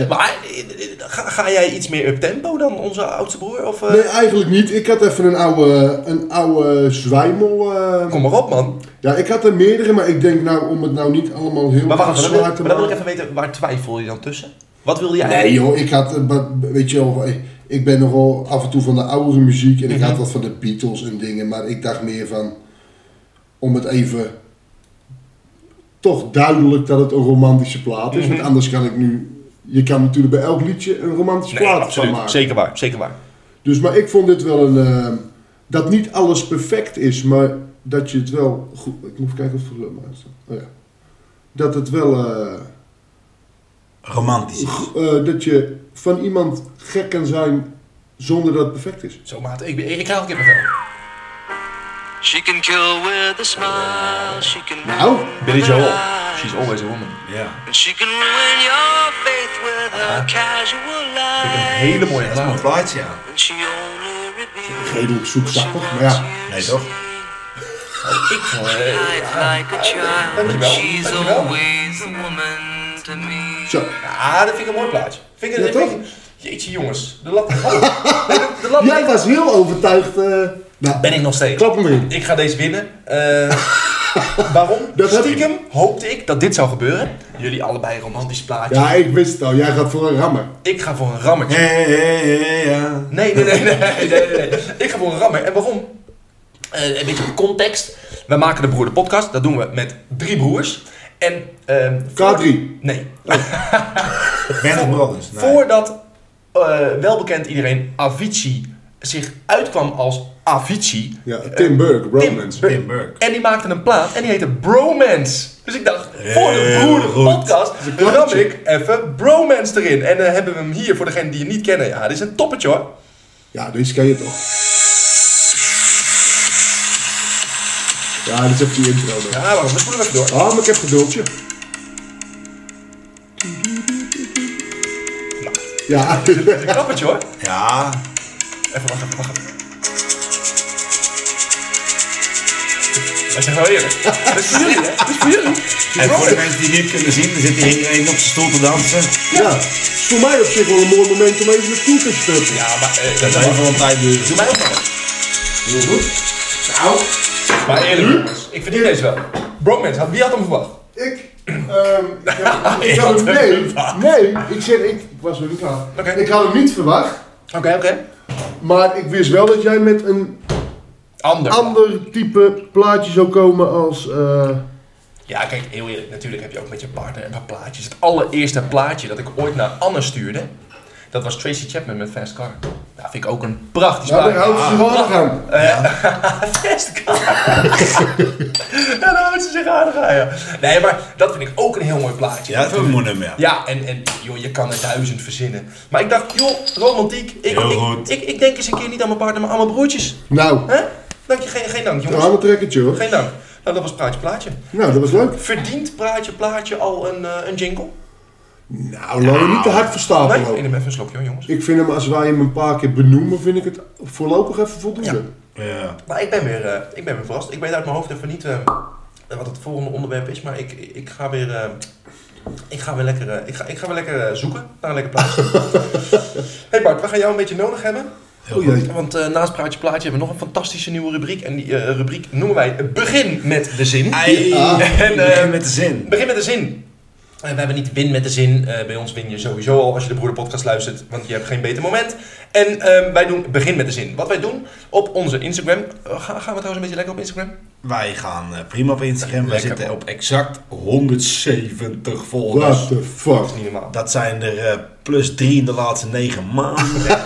B: Maar eh, ga, ga jij iets meer up-tempo dan onze oudste broer? Of, eh,
A: Nee, eigenlijk niet. Ik had even een oude, een oude zwijmel. eh,
B: Kom maar op, man.
A: Ja, ik had er meerdere, maar ik denk nou om het nou niet allemaal heel
B: Maar wacht even,
A: zwaar
B: maar
A: te
B: dan wil ik
A: maken.
B: even weten, waar twijfel je dan tussen? Wat wilde jij?
A: Nee joh, ik had, eh, ba- weet je wel, ik- ik ben nogal af en toe van de oudere muziek en
B: Mhm.
A: ik had wat van de Beatles en dingen, maar ik dacht meer van, om het even, toch duidelijk dat het een romantische plaat is,
B: Mhm.
A: want anders kan ik nu, je kan natuurlijk bij elk liedje een romantische
B: Nee,
A: plaat van maken.
B: Zeker waar, zeker waar.
A: Dus, maar ik vond dit wel een, eh, dat niet alles perfect is, maar dat je het wel goed, ik moet even kijken of het voor maar staat. Oh ja. Dat het wel... eh,
C: Romantisch.
A: eh, dat je van iemand gek kan zijn zonder dat het perfect is.
B: Zo, maat, ik, ik, ik krijg ook even veel.
D: She can kill with a smile, she can
A: Nou,
B: Billy Joel, she's always a woman.
C: Ja.
D: And she can ruin your faith with her casual
B: Vind ik een
D: lie.
B: hele mooie
C: Dat is
B: plaat.
C: mijn plaatje, ja.
D: And she only reveals
A: redelijk zoetsappig, maar ja.
C: Nee, toch?
B: Ik vond eh,
D: life like a child. But
B: Dankjewel,
D: she's
B: dankjewel.
D: always a woman to me.
A: Zo,
B: Ah, dat vind ik een mooi plaatje. Vind ik,
A: Ja,
B: vind
A: toch?
B: ik- jeetje jongens, de lat ligt hoog. Nee, de, de lat
A: jij
B: ligt-
A: was heel overtuigd. eh nou,
B: Ben ik nog steeds.
A: Klap hem erin.
B: Ik ga deze winnen. Eh, waarom?
A: Dat heb
B: Stiekem hoopte ik dat dit zou gebeuren. Jullie allebei een romantisch plaatje.
A: Ja, ik wist het al. Jij gaat voor een rammer.
B: Ik ga voor een rammertje.
C: Hey, hey, hey, ja.
B: Nee, nee, nee, nee, nee, nee, nee. Ik ga voor een rammer. En waarom? Eh, een beetje context. Wij maken de Broeder Podcast. Dat doen we met drie broers. En, ehm, voor-
A: K3.
B: Nee,
C: Band of Brothers. Nee.
B: Voordat eh welbekend iedereen Avicii zich uitkwam als Avicii.
A: Ja, Tim Burke, Romance.
B: Bur-
C: Tim Burke.
B: En die maakte een plaat en die heette Bromance. Dus ik dacht, voor de
C: Heel
B: broeder
C: goed.
B: podcast
A: een
B: ram
A: klappertje.
B: ik even Bromance erin. En dan hebben we hem hier voor degenen die hem niet kennen. Ja, dit is een toppetje hoor.
A: Ja, deze ken je toch? Ja, dit is even die intro nog.
B: Ja, wacht, we spoelen hem even door.
A: Ah, maar ik heb geduldje. Ja,
B: Een klappertje hoor.
C: Ja,
B: Even wacht, even wacht. even. Dat is wel eerlijk. Dat is voor jullie, hè? Dat is voor jullie.
C: en voor de mensen die het niet kunnen zien, er zit hier iedereen op zijn stoel te dansen.
A: ja. Is voor mij op zich wel een mooi moment om even de koek te stukken.
B: Ja, maar eh,
C: Dat
B: dat
C: zal
B: is
C: even wel een tijd duren.
B: Doe mij ook nog wat.
A: Heel goed.
B: Maar eerlijk, jongens, ik verdien deze wel. Bromance, had, wie had hem verwacht?
A: Ik, ehm, ik had- ik
B: Ik
A: had
B: had
A: hem- nee, nee, ik zeg, ik, ik was nog niet klaar.
B: Oké.
A: Ik had hem niet verwacht,
B: Oké, oké.
A: maar ik wist wel dat jij met een
B: Ander.
A: ander type plaatje zou komen als... eh,
B: ja, kijk, heel eerlijk, natuurlijk heb je ook met je partner een paar plaatjes. Het allereerste plaatje dat ik ooit naar Anne stuurde, dat was Tracy Chapman met Fast Car. Nou, vind ik ook een prachtig
A: nou, daar
B: plaatje.
A: houdt ze zich wel aan.
B: Fast Car. ja, daar houdt ze zich aardig aan, ja. Nee, maar dat vind ik ook een heel mooi plaatje.
C: Ja, dat is ook een mooi nummer. ja.
B: Ja, en, en joh, je kan er duizend verzinnen. Maar ik dacht, joh, romantiek. Ik,
C: Heel
B: ik,
C: goed.
B: Ik, ik denk eens een keer niet aan mijn partner, maar aan mijn broertjes.
A: Nou,
B: Hè? Dank je, geen, geen dank, jongens.
A: tranentrekkertje hoor.
B: Geen dank. Nou, dat was Praatje Plaatje.
A: Nou, dat was leuk.
B: Verdient Praatje Plaatje al een, eh, een jingle?
A: Nou, laten we niet te hard
B: Nee,
A: verstapelen.
B: ik neem even een slokje hoor, jongens.
A: Ik vind hem, als wij hem een paar keer benoemen, vind ik het voorlopig even voldoende. Oh,
C: Ja.
B: Maar ik ben weer, eh, ik ben weer verrast. Ik weet uit mijn hoofd even niet eh, wat het volgende onderwerp is, maar ik, ik ga weer... eh, ik ga weer lekker, eh, ik ga, ik ga weer lekker eh, zoeken naar een lekker plaatje. hey Bart, we gaan jou een beetje nodig hebben.
A: O jee.
B: Want eh, naast Praatje Plaatje hebben we nog een fantastische nieuwe rubriek. En die eh, rubriek noemen wij Begin met de Zin.
C: Ei,
B: En,
C: en
B: eh,
C: met de zin.
B: Begin met de zin. Eh, We hebben niet win met de zin. Eh, bij ons win je sowieso al als je de Broederpodcast luistert, want je hebt geen beter moment. En ehm, wij doen begin met de zin. Wat wij doen op onze Instagram. eh, ga- gaan we trouwens een beetje lekker op Instagram?
C: Wij gaan eh, prima op Instagram. Wij
B: Lekker,
C: zitten
B: man.
C: op exact 170 volgers.
A: What the fuck?
B: Dat is niet normaal.
C: Dat zijn er eh, plus drie in de laatste negen maanden.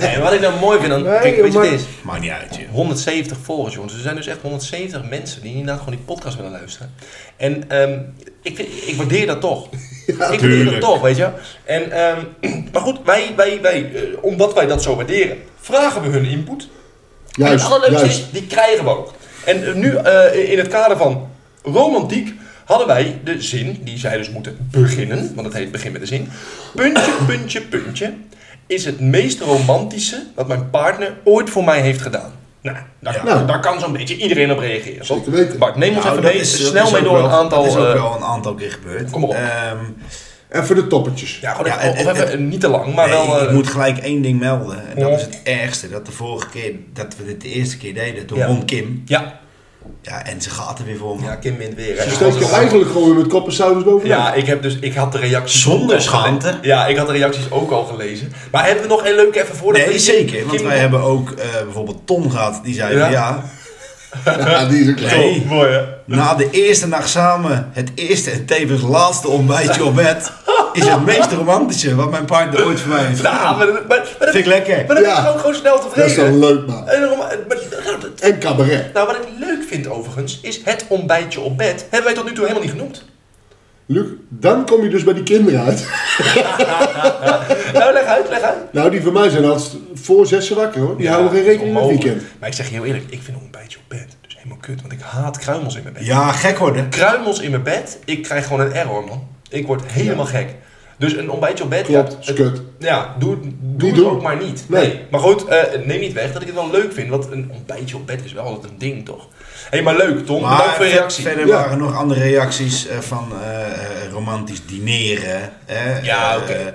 B: En wat ik nou mooi vind, dan,
A: Nee,
B: kijk, weet je
A: maar-
B: wat het is?
C: Maakt niet uit, joh.
B: 170 volgers, jongens. Er zijn dus echt 170 mensen die inderdaad gewoon die podcast willen luisteren. En ehm, ik, vind- ik waardeer dat toch. ik waardeer dat
C: tuurlijk.
B: toch, weet je. En, ehm, maar goed, wij, wij, wij, eh, omdat wij dat zo waarderen, vragen we hun input.
A: Juist,
B: en het allerleukste
A: juist.
B: is, die krijgen we ook. En eh, nu, eh, in het kader van romantiek, hadden wij de zin, die zij dus moeten beginnen, want het heet begin met de zin. Puntje, puntje, puntje is het meest romantische wat mijn partner ooit voor mij heeft gedaan. Nou, daar,
C: Ja.
B: nou, daar kan zo'n beetje iedereen op reageren. toch?
A: Zeker weten.
B: Bart, neem ons
C: Nou,
B: even mee,
C: dat is-
B: snel
C: dat is
B: mee
C: ook
B: door
C: wel-
B: een aantal...
C: Dat is ook
B: eh,
C: wel een aantal keer gebeurd.
B: kom maar op.
C: Ehm,
A: Even de toppetjes.
B: ja, gewoon
C: Ja,
B: even,
C: en-
B: of
C: en-
B: even niet te lang, maar
C: nee,
B: wel...
C: ik
B: eh,
C: moet gelijk één ding melden. En dat
B: Ja.
C: is het ergste. Dat de vorige keer dat we dit de eerste keer deden, toen
B: Ja.
C: won Kim.
B: Ja.
C: Ja, en ze gaat er weer voor me.
B: ja, Kim wint weer. hè.
A: Dus steek je eigenlijk gewoon weer met kop en saus bovenaan.
B: Ja, ik, heb dus, ik had de reacties
C: Zonder
B: ook al gele-
C: schaamte.
B: Ja, ik had de reacties ook al gelezen. Maar hebben we nog een leuke even voordat we
C: Nee,
B: die-
C: zeker. Want
B: Kim-
C: wij hebben ook eh, bijvoorbeeld Tom gehad. Die zei
B: Ja.
C: van ja,
A: Ja, die is een klein.
C: Nee.
B: Oh, Mooi hè?
C: Na de eerste nacht samen, het eerste en tevens laatste ontbijtje op bed, is het meest romantische wat mijn partner ooit voor mij heeft
B: Nou,
C: gedaan.
B: maar, maar, maar, maar,
C: Vind ik lekker.
B: Maar dan ben
A: Ja.
B: je gewoon, gewoon snel
A: Dat
B: tevreden.
A: is dan leuk, man.
B: En daarom- maar- maar-
A: En cabaret.
B: Nou, wat ik leuk vind overigens, is het ontbijtje op bed. Hebben wij tot nu toe helemaal niet genoemd.
A: Luc, dan kom je dus bij die kinderen uit.
B: Nou, leg uit, leg uit.
A: Nou, die van mij zijn altijd voor zes wakker hoor. Die houden geen rekening met het
B: Onmogelijk.
A: weekend.
B: Maar ik zeg je heel eerlijk, ik vind ontbijtje op bed dus helemaal kut. Want ik haat kruimels in mijn bed.
C: Ja, gek worden.
B: Kruimels in mijn bed, ik krijg gewoon een error, man. Ik word helemaal gek. Dus een ontbijtje op bed,
A: Klopt,
B: ja,
A: is
B: het-
A: kut.
B: Ja, doe, doe
A: Niet
B: het
A: doen.
B: ook maar niet. Nee.
A: Nee.
B: Maar goed, eh, neem niet weg dat ik het wel leuk vind. Want een ontbijtje op bed is wel altijd een ding, toch? Hé, hey, maar leuk, Tom.
C: Maar
B: bedankt voor je reactie.
C: verder
A: Ja.
C: waren nog andere reacties eh, van eh, eh, romantisch dineren. eh,
B: Ja,
C: eh,
B: oké.
C: eh,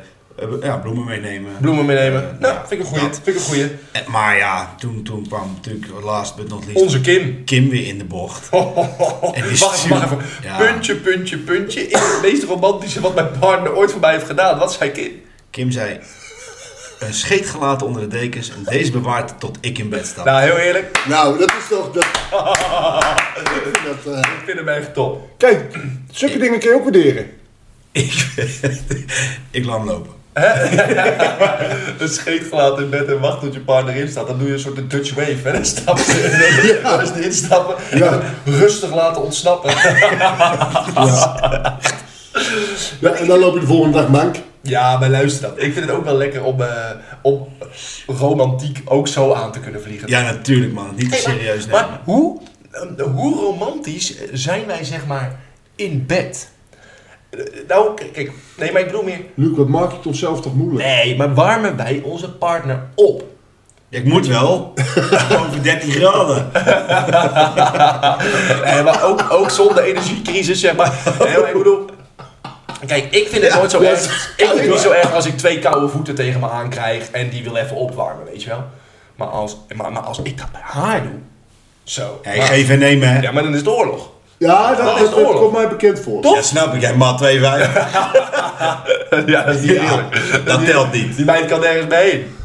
C: eh, ja, bloemen meenemen.
B: Bloemen meenemen. nou,
C: ja.
B: vind ik een goeie.
C: Ja.
B: Vind ik een goeie.
C: Eh, maar ja, toen, toen kwam natuurlijk last but not least
B: Onze Kim.
C: Kim weer in de bocht. En die
B: wacht even,
C: stuurt-
B: wacht even.
C: Ja.
B: Puntje, puntje, puntje. Is het meest romantische wat mijn partner ooit voor mij heeft gedaan. Wat zei Kim?
C: Kim zei, een scheet gelaten onder de dekens en deze bewaard tot ik in bed sta.
B: Nou, heel eerlijk,
A: Nou, dat is toch... Dat... Ik vind dat, eh,
B: ik vind hem echt top.
A: Kijk, zulke dingen kun je ook waarderen.
C: Ik, ik laat hem lopen.
B: Een scheet gelaten in bed en wacht tot je partner instaat. Dan doe je een soort een Dutch wave. Hè? Dan stappen ze en dan is die instappen. En
A: Ja.
B: dan rustig laten ontsnappen.
A: Ja, en dan loop je de volgende dag mank.
B: Ja, maar luister dat. Ik vind het ook wel lekker om, eh, om romantiek ook zo aan te kunnen vliegen.
C: Ja, natuurlijk man. Niet te
B: Hey, maar-
C: serieus nemen.
B: Maar, hoe, eh, hoe romantisch zijn wij, zeg maar, in bed? Eh, Nou, k- kijk, nee, maar ik bedoel meer...
A: Luc, wat maak je het onszelf toch moeilijk?
B: Nee, maar warmen wij onze partner op?
C: Ja, ik moet wel. Over 13 graden.
B: Eh, maar ook, ook zonder energiecrisis, zeg maar. Nee, maar ik bedoel... Kijk, ik vind het nooit zo erg. Ik vind het niet zo erg als ik twee koude voeten tegen me aankrijg en die wil even opwarmen, weet je wel. Maar als, maar, maar als ik dat bij haar doe, zo.
C: Ja, ik
B: maar-
C: geef en neem hè.
B: Ja, maar dan is het oorlog.
A: Ja, dat,
B: Dat is
A: dat, dat
B: oorlog.
A: komt mij bekend voor.
B: Toch?
C: Dat snap ik. Jij maat 2 5.
B: Ja, dat is niet eerlijk.
C: dat telt niet.
B: Die meid kan nergens mee heen.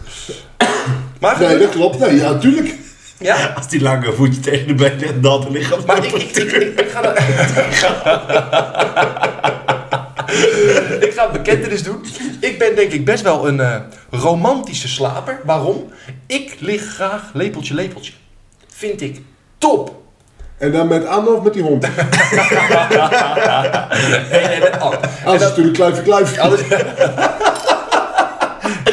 B: Maar,
A: Nee, dat klopt. Nee, ja, tuurlijk.
B: ja,
C: Als die lange voetje tegen de been ligt, dan de
B: maar ik, ik, ik, ik, ik ga dat... ik ga een bekentenis doen. Ik ben denk ik best wel een eh, romantische slaper. Waarom? Ik lig graag lepeltje lepeltje. Vind ik top.
A: En dan met Anne of met die hond?
B: En, en, en, Anne.
A: Ah, dat is natuurlijk kluifje kluifje.
B: Alles-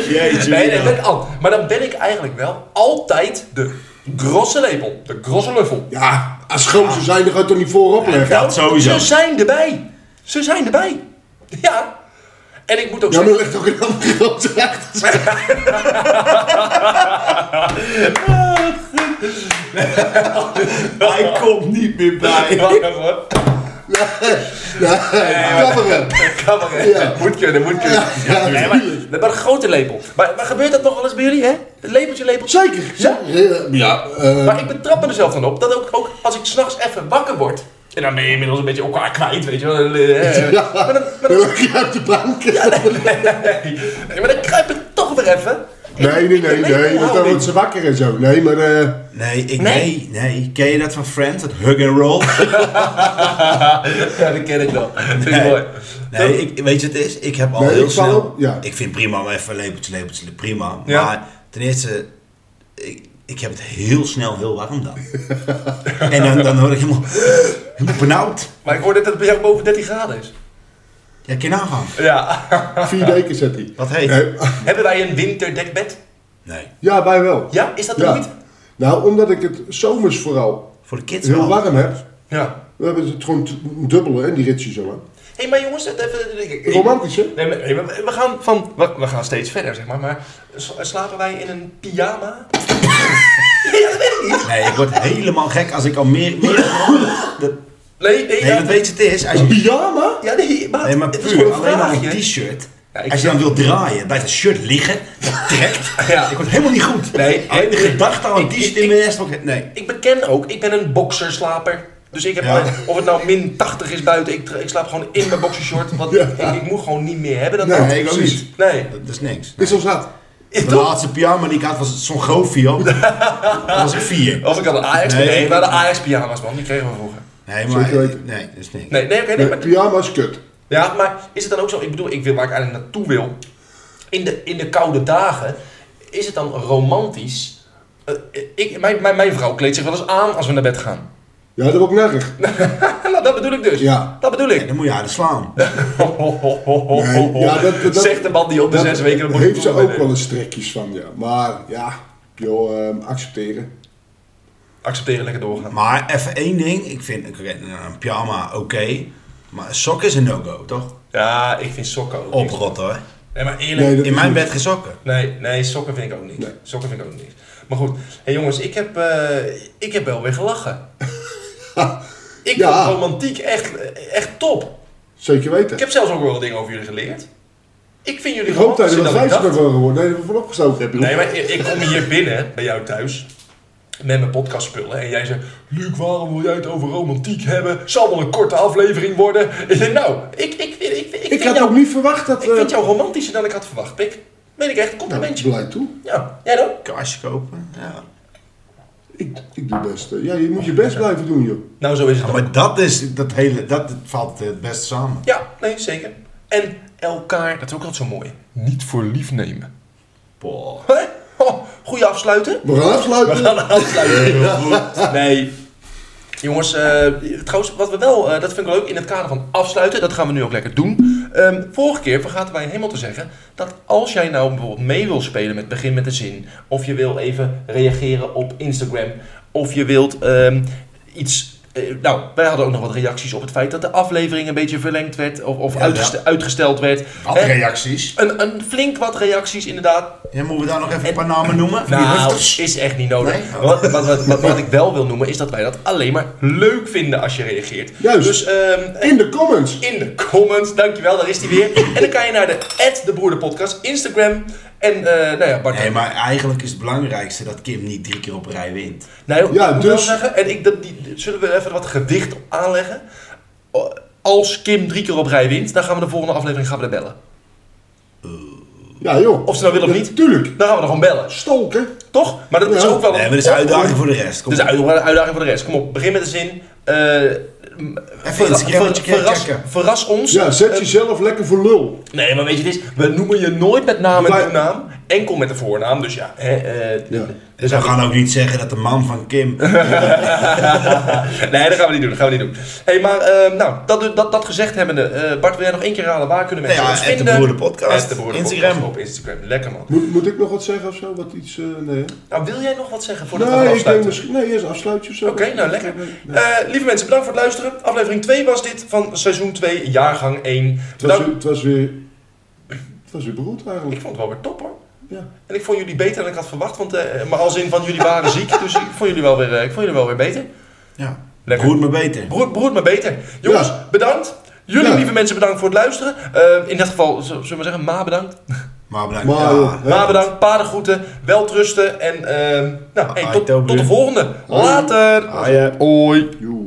C: Jeetje.
B: Nee, nee,
C: ja.
B: met Anne. Maar dan ben ik eigenlijk wel altijd de grosse lepel. De grosse luffel.
A: Ja, als schoon ze zijn, dan ga je toch niet voorop leggen?
C: Dat sowieso.
B: Ze zijn erbij. Ze zijn erbij. Ja. En ik moet ook
A: Ja, maar
B: zeggen...
A: er ligt ook een andere grote achter.
C: Hij komt niet meer bij.
B: Wacht even, hoor.
A: Kapperen.
B: Kan maar, hè.
A: Ja.
B: Moet kunnen, moet kunnen.
A: Ja,
B: Nee, maar, maar een grote lepel. Maar, maar gebeurt dat nog wel eens bij jullie, hè? Het Lepeltje, lepeltje.
A: Zeker.
B: Ja?
A: zeker. Ja. eh,
B: Maar ik betrap me er zelf dan op dat ook, ook als ik s'nachts even wakker word... En dan ben je inmiddels een beetje elkaar kwijt, weet je wel. Eh,
A: ja.
B: Maar dan, maar
A: Dan
B: dan,
A: lag je uit de bank.
B: nee, eh. maar dan kruip ik toch weer even. nou,
A: Nee, nee, nee, nee, want dan
B: Lepelhouding.
A: wordt ze wakker en zo. Nee, maar eh,
C: Nee, ik,
B: Nee.
C: nee, nee. Ken je dat van Friends? Dat hug and roll?
B: Ja, dat ken ik wel. Vind ik
C: Nee.
B: mooi.
C: Nee, ik, weet je wat het is? Ik heb al
A: Nee,
C: heel
A: ik val
C: snel...
A: op, ja.
C: Ik vind prima om even lepeltje, lepeltje, prima.
B: Ja.
C: Maar ten eerste, ik, ik heb het heel snel heel warm dan. en dan, dan hoor ik helemaal, helemaal benauwd.
B: Maar ik hoor net dat het bij jou boven 13 graden is.
C: Ja, kun je nagaan.
B: Ja.
A: vier weken zet hij. Eh,
C: Wat heet?
A: Nee,
B: Hebben wij een winterdekbed?
C: Nee,
A: ja, wij wel.
B: Ja, is dat er niet?
A: Ja. Nou, omdat ik het zomers vooral
C: voor de kids
A: heel
C: wel.
A: warm heb.
B: Ja.
A: We hebben het gewoon t- een dubbele, hè, die ritjes zo lang.
B: Hé, hey, maar jongens, dat even... ik- ik-
A: Romantisch, hè?
B: Nee, maar, nee, maar we gaan van... We, we gaan steeds verder, zeg maar. Maar s- slapen wij in een pyjama?
C: Nee, ik word helemaal gek als ik al meer... meer dat,
B: Nee, nee,
C: nee,
B: ja,
C: dat weet je het is? Als je,
A: Pyjama?
B: Ja, nee, maar...
C: nee, maar
B: het is gewoon
C: puur,
B: een
C: alleen maar
B: vraagje.
C: een t-shirt.
B: Ja, ik
C: als je dan
B: zeg-
C: wil draaien, blijft het shirt liggen, dat trekt.
B: Ja.
C: Ik word helemaal niet goed.
B: Nee,
C: alleen de
B: ik-
C: gedachte aan een
B: ik- ik-
C: t-shirt in mijn rest. Nee.
B: Ik beken ook, ik ben een boxerslaper. Dus ik heb,
C: Ja.
B: eh, of het nou min 80 is buiten, ik, tra- ik slaap gewoon in mijn boxershort. Want
A: Ja.
B: ik, ik moet gewoon niet meer hebben dan
A: Nee,
B: dat.
C: Nee, ik ook
A: Precies.
C: niet.
B: Nee.
C: Dat is niks.
A: Is ons dat?
B: Is
C: De
B: toch?
C: laatste pyjama die ik had was zo'n gofio. Dat was ik vier.
B: Of ik had een Ajax... Nee,
C: Nee.
B: we hadden Ajax-pyjama's, man. Die kregen we vroeger.
C: Nee,
A: Zeker
C: maar...
A: weten.
C: Nee, dat is niks.
B: Nee, nee, oké, nee,
A: Nee,
B: maar...
A: Eh, pyjama is kut.
B: Ja, maar is het dan ook zo? Ik bedoel, ik wil waar ik eigenlijk naartoe wil. In de, in de koude dagen is het dan romantisch. Eh, ik, mijn, mijn, mijn vrouw kleedt zich wel eens aan als we naar bed gaan.
A: Ja, dat ook nergens.
B: nou, dat bedoel ik dus.
A: Ja.
B: Dat bedoel
C: En
B: ik.
C: dan moet je haar slaan.
A: Nee, ja, dat- dat-
B: oh, Zegt de man die op de
A: Dat
B: zes weken een
A: heeft ze
B: borduur
A: ook wel eens strekjes van, ja. Maar ja, joh, ehm, accepteren.
B: Accepteren, lekker doorgaan.
C: Maar even één ding. Ik vind oké, een pyjama oké. maar een sok is een no-go, toch?
B: Ja, ik vind sokken ook niet.
C: Oprot Oh, hoor.
B: Nee, maar eerlijk.
A: Nee, dat
C: In
A: is
C: mijn
A: niet.
C: bed geen sokken.
B: Nee, nee, sokken vind ik ook niet.
A: Nee.
B: Sokken vind ik ook niet. Maar goed, hey jongens, ik heb, eh, ik heb wel weer gelachen. ik
A: Ja.
B: vond romantiek echt, echt top.
A: Zeker weten.
B: Ik heb zelfs ook wel wat dingen over jullie geleerd. Ik vind jullie
A: Ik hoop dat je
B: romantischer
A: dat
B: dan ik
A: wijzer
B: dacht.
A: bent geworden. Nee, dat we vanop gestoken hebben.
B: Nee, maar ik, ik kom hier binnen bij jou thuis met mijn podcastspullen en jij zegt: Luc, waarom wil jij het over romantiek hebben? Zal wel een korte aflevering worden. Ik denk, nou, ik, ik, ik, ik, ik,
A: ik
B: vind
A: had
B: jou,
A: ook niet verwacht dat...
B: ik vind
A: eh,
B: jou romantischer dan ik had verwacht, Pik. Meen ik echt, een
A: Nou, ik
B: complimentje.
A: blij toe.
B: Ja, jij dan?
C: Kaarsje kopen. Ja.
A: Ik, ik doe best. eh, Ja, je moet je best blijven doen, joh.
B: Nou, zo is het
C: Ja,
B: ook.
C: maar dat is dat hele, dat valt het best samen.
B: Ja, nee, zeker. En elkaar, dat is ook altijd zo mooi, niet voor lief nemen.
C: Boah.
B: Hè? Oh, goeie afsluiten.
A: We gaan afsluiten.
B: We gaan afsluiten. Nee. Jongens, eh, trouwens, wat we wel, eh, dat vind ik leuk, in het kader van afsluiten, dat gaan we nu ook lekker doen. Ehm, vorige keer vergaten wij helemaal te zeggen dat als jij nou bijvoorbeeld mee wil spelen met begin met een zin, of je wil even reageren op Instagram, of je wilt ehm, iets. eh, nou, wij hadden ook nog wat reacties op het feit dat de aflevering een beetje verlengd werd, of, of
C: Ja,
B: uitgeste- uitgesteld werd.
C: Wat
B: Hè?
C: reacties.
B: een, een flink wat reacties inderdaad.
C: Ja, moeten we daar nog even een paar namen noemen? Van die
B: Nou,
C: hufters?
B: is echt niet nodig.
C: Nee?
A: Oh.
B: Wat, wat, wat, wat, wat ik wel wil noemen is dat wij dat alleen maar leuk vinden als je reageert.
A: Juist.
B: Dus ehm,
A: In de comments.
B: in de comments, dankjewel, daar is hij weer. en dan kan je naar de @debroederpodcast Instagram. En eh, nou ja, Bart.
C: Nee, maar eigenlijk is het belangrijkste dat Kim niet drie keer op rij wint.
B: Nou,
A: Ja,
B: ik moet wel
A: dus-
B: zeggen, en ik, dat, die, zullen we even wat gewicht op aanleggen? O, Als Kim drie keer op rij wint, dan gaan we de volgende aflevering gaan we er bellen.
A: Ja, joh.
B: Of ze nou willen of
A: Ja,
B: niet.
A: Tuurlijk.
B: Dan gaan we er gewoon bellen.
A: Stolken.
B: Toch? Maar dat is
A: Ja.
B: ook wel een
C: Nee, maar dat is een uitdaging voor de rest. Kom
B: Dus
C: op.
B: uit- een uitdaging voor de rest. Kom op, begin met een zin. Eh, m-
C: Even Instagrammetje
B: verras,
C: checken.
B: verras ons.
A: Ja, zet
B: Eh,
A: jezelf lekker voor lul.
B: nee, maar weet je, dit is, we noemen je nooit met naam en
A: Maar-
B: toenaam. Enkel met de voornaam, dus ja. Hè, eh,
A: Ja.
B: dus
C: we
B: dan
C: gaan ook niet zeggen dat de man van Kim.
B: nee, dat gaan we niet doen. Dat gaan we niet doen. hey, maar eh, nou, dat, dat, dat gezegd hebbende, eh, Bart, wil jij nog één keer halen? Waar kunnen mensen
C: Ja,
B: ons
C: at de
B: vinden?
C: Broeder Podcast.
B: At de Broeder
C: Instagram.
B: Podcast op Instagram. Lekker man.
A: Moet, moet ik nog wat zeggen of zo? Wat iets, eh, nee, hè?
B: Nou, wil jij nog wat zeggen voordat we
A: Nee, ik denk
B: afsluiten?
A: misschien... Nee, eerst afsluitje of zo.
B: Oké, nou lekker.
A: Nee, nee.
B: Eh, lieve mensen, bedankt voor het luisteren. Aflevering 2 was dit van seizoen 2, jaargang 1.
A: Het was,
B: Bedankt.
A: weer- het was weer... Het was weer beroerd
B: Ik
A: eigenlijk.
B: vond het wel weer top hoor.
A: Ja.
B: En ik vond jullie beter dan ik had verwacht, want, eh, maar als in van jullie waren ziek, dus ik vond jullie wel weer, eh, ik vond jullie wel weer beter.
C: Ja,
B: Lekker.
C: goed maar beter.
B: Broer, broer, maar beter. Jongens,
A: Ja.
B: bedankt. Jullie
A: Ja.
B: lieve mensen, bedankt voor het luisteren. Eh, in dat geval, z- zullen we zeggen, ma bedankt.
C: Maar bedankt.
A: Maar,
C: Ja.
A: joh, hè?
B: Ma bedankt, pa de groeten, welterusten en eh, nou, hey,
C: Ah,
B: tot,
C: Toby.
B: tot de volgende. Later.
A: Joe.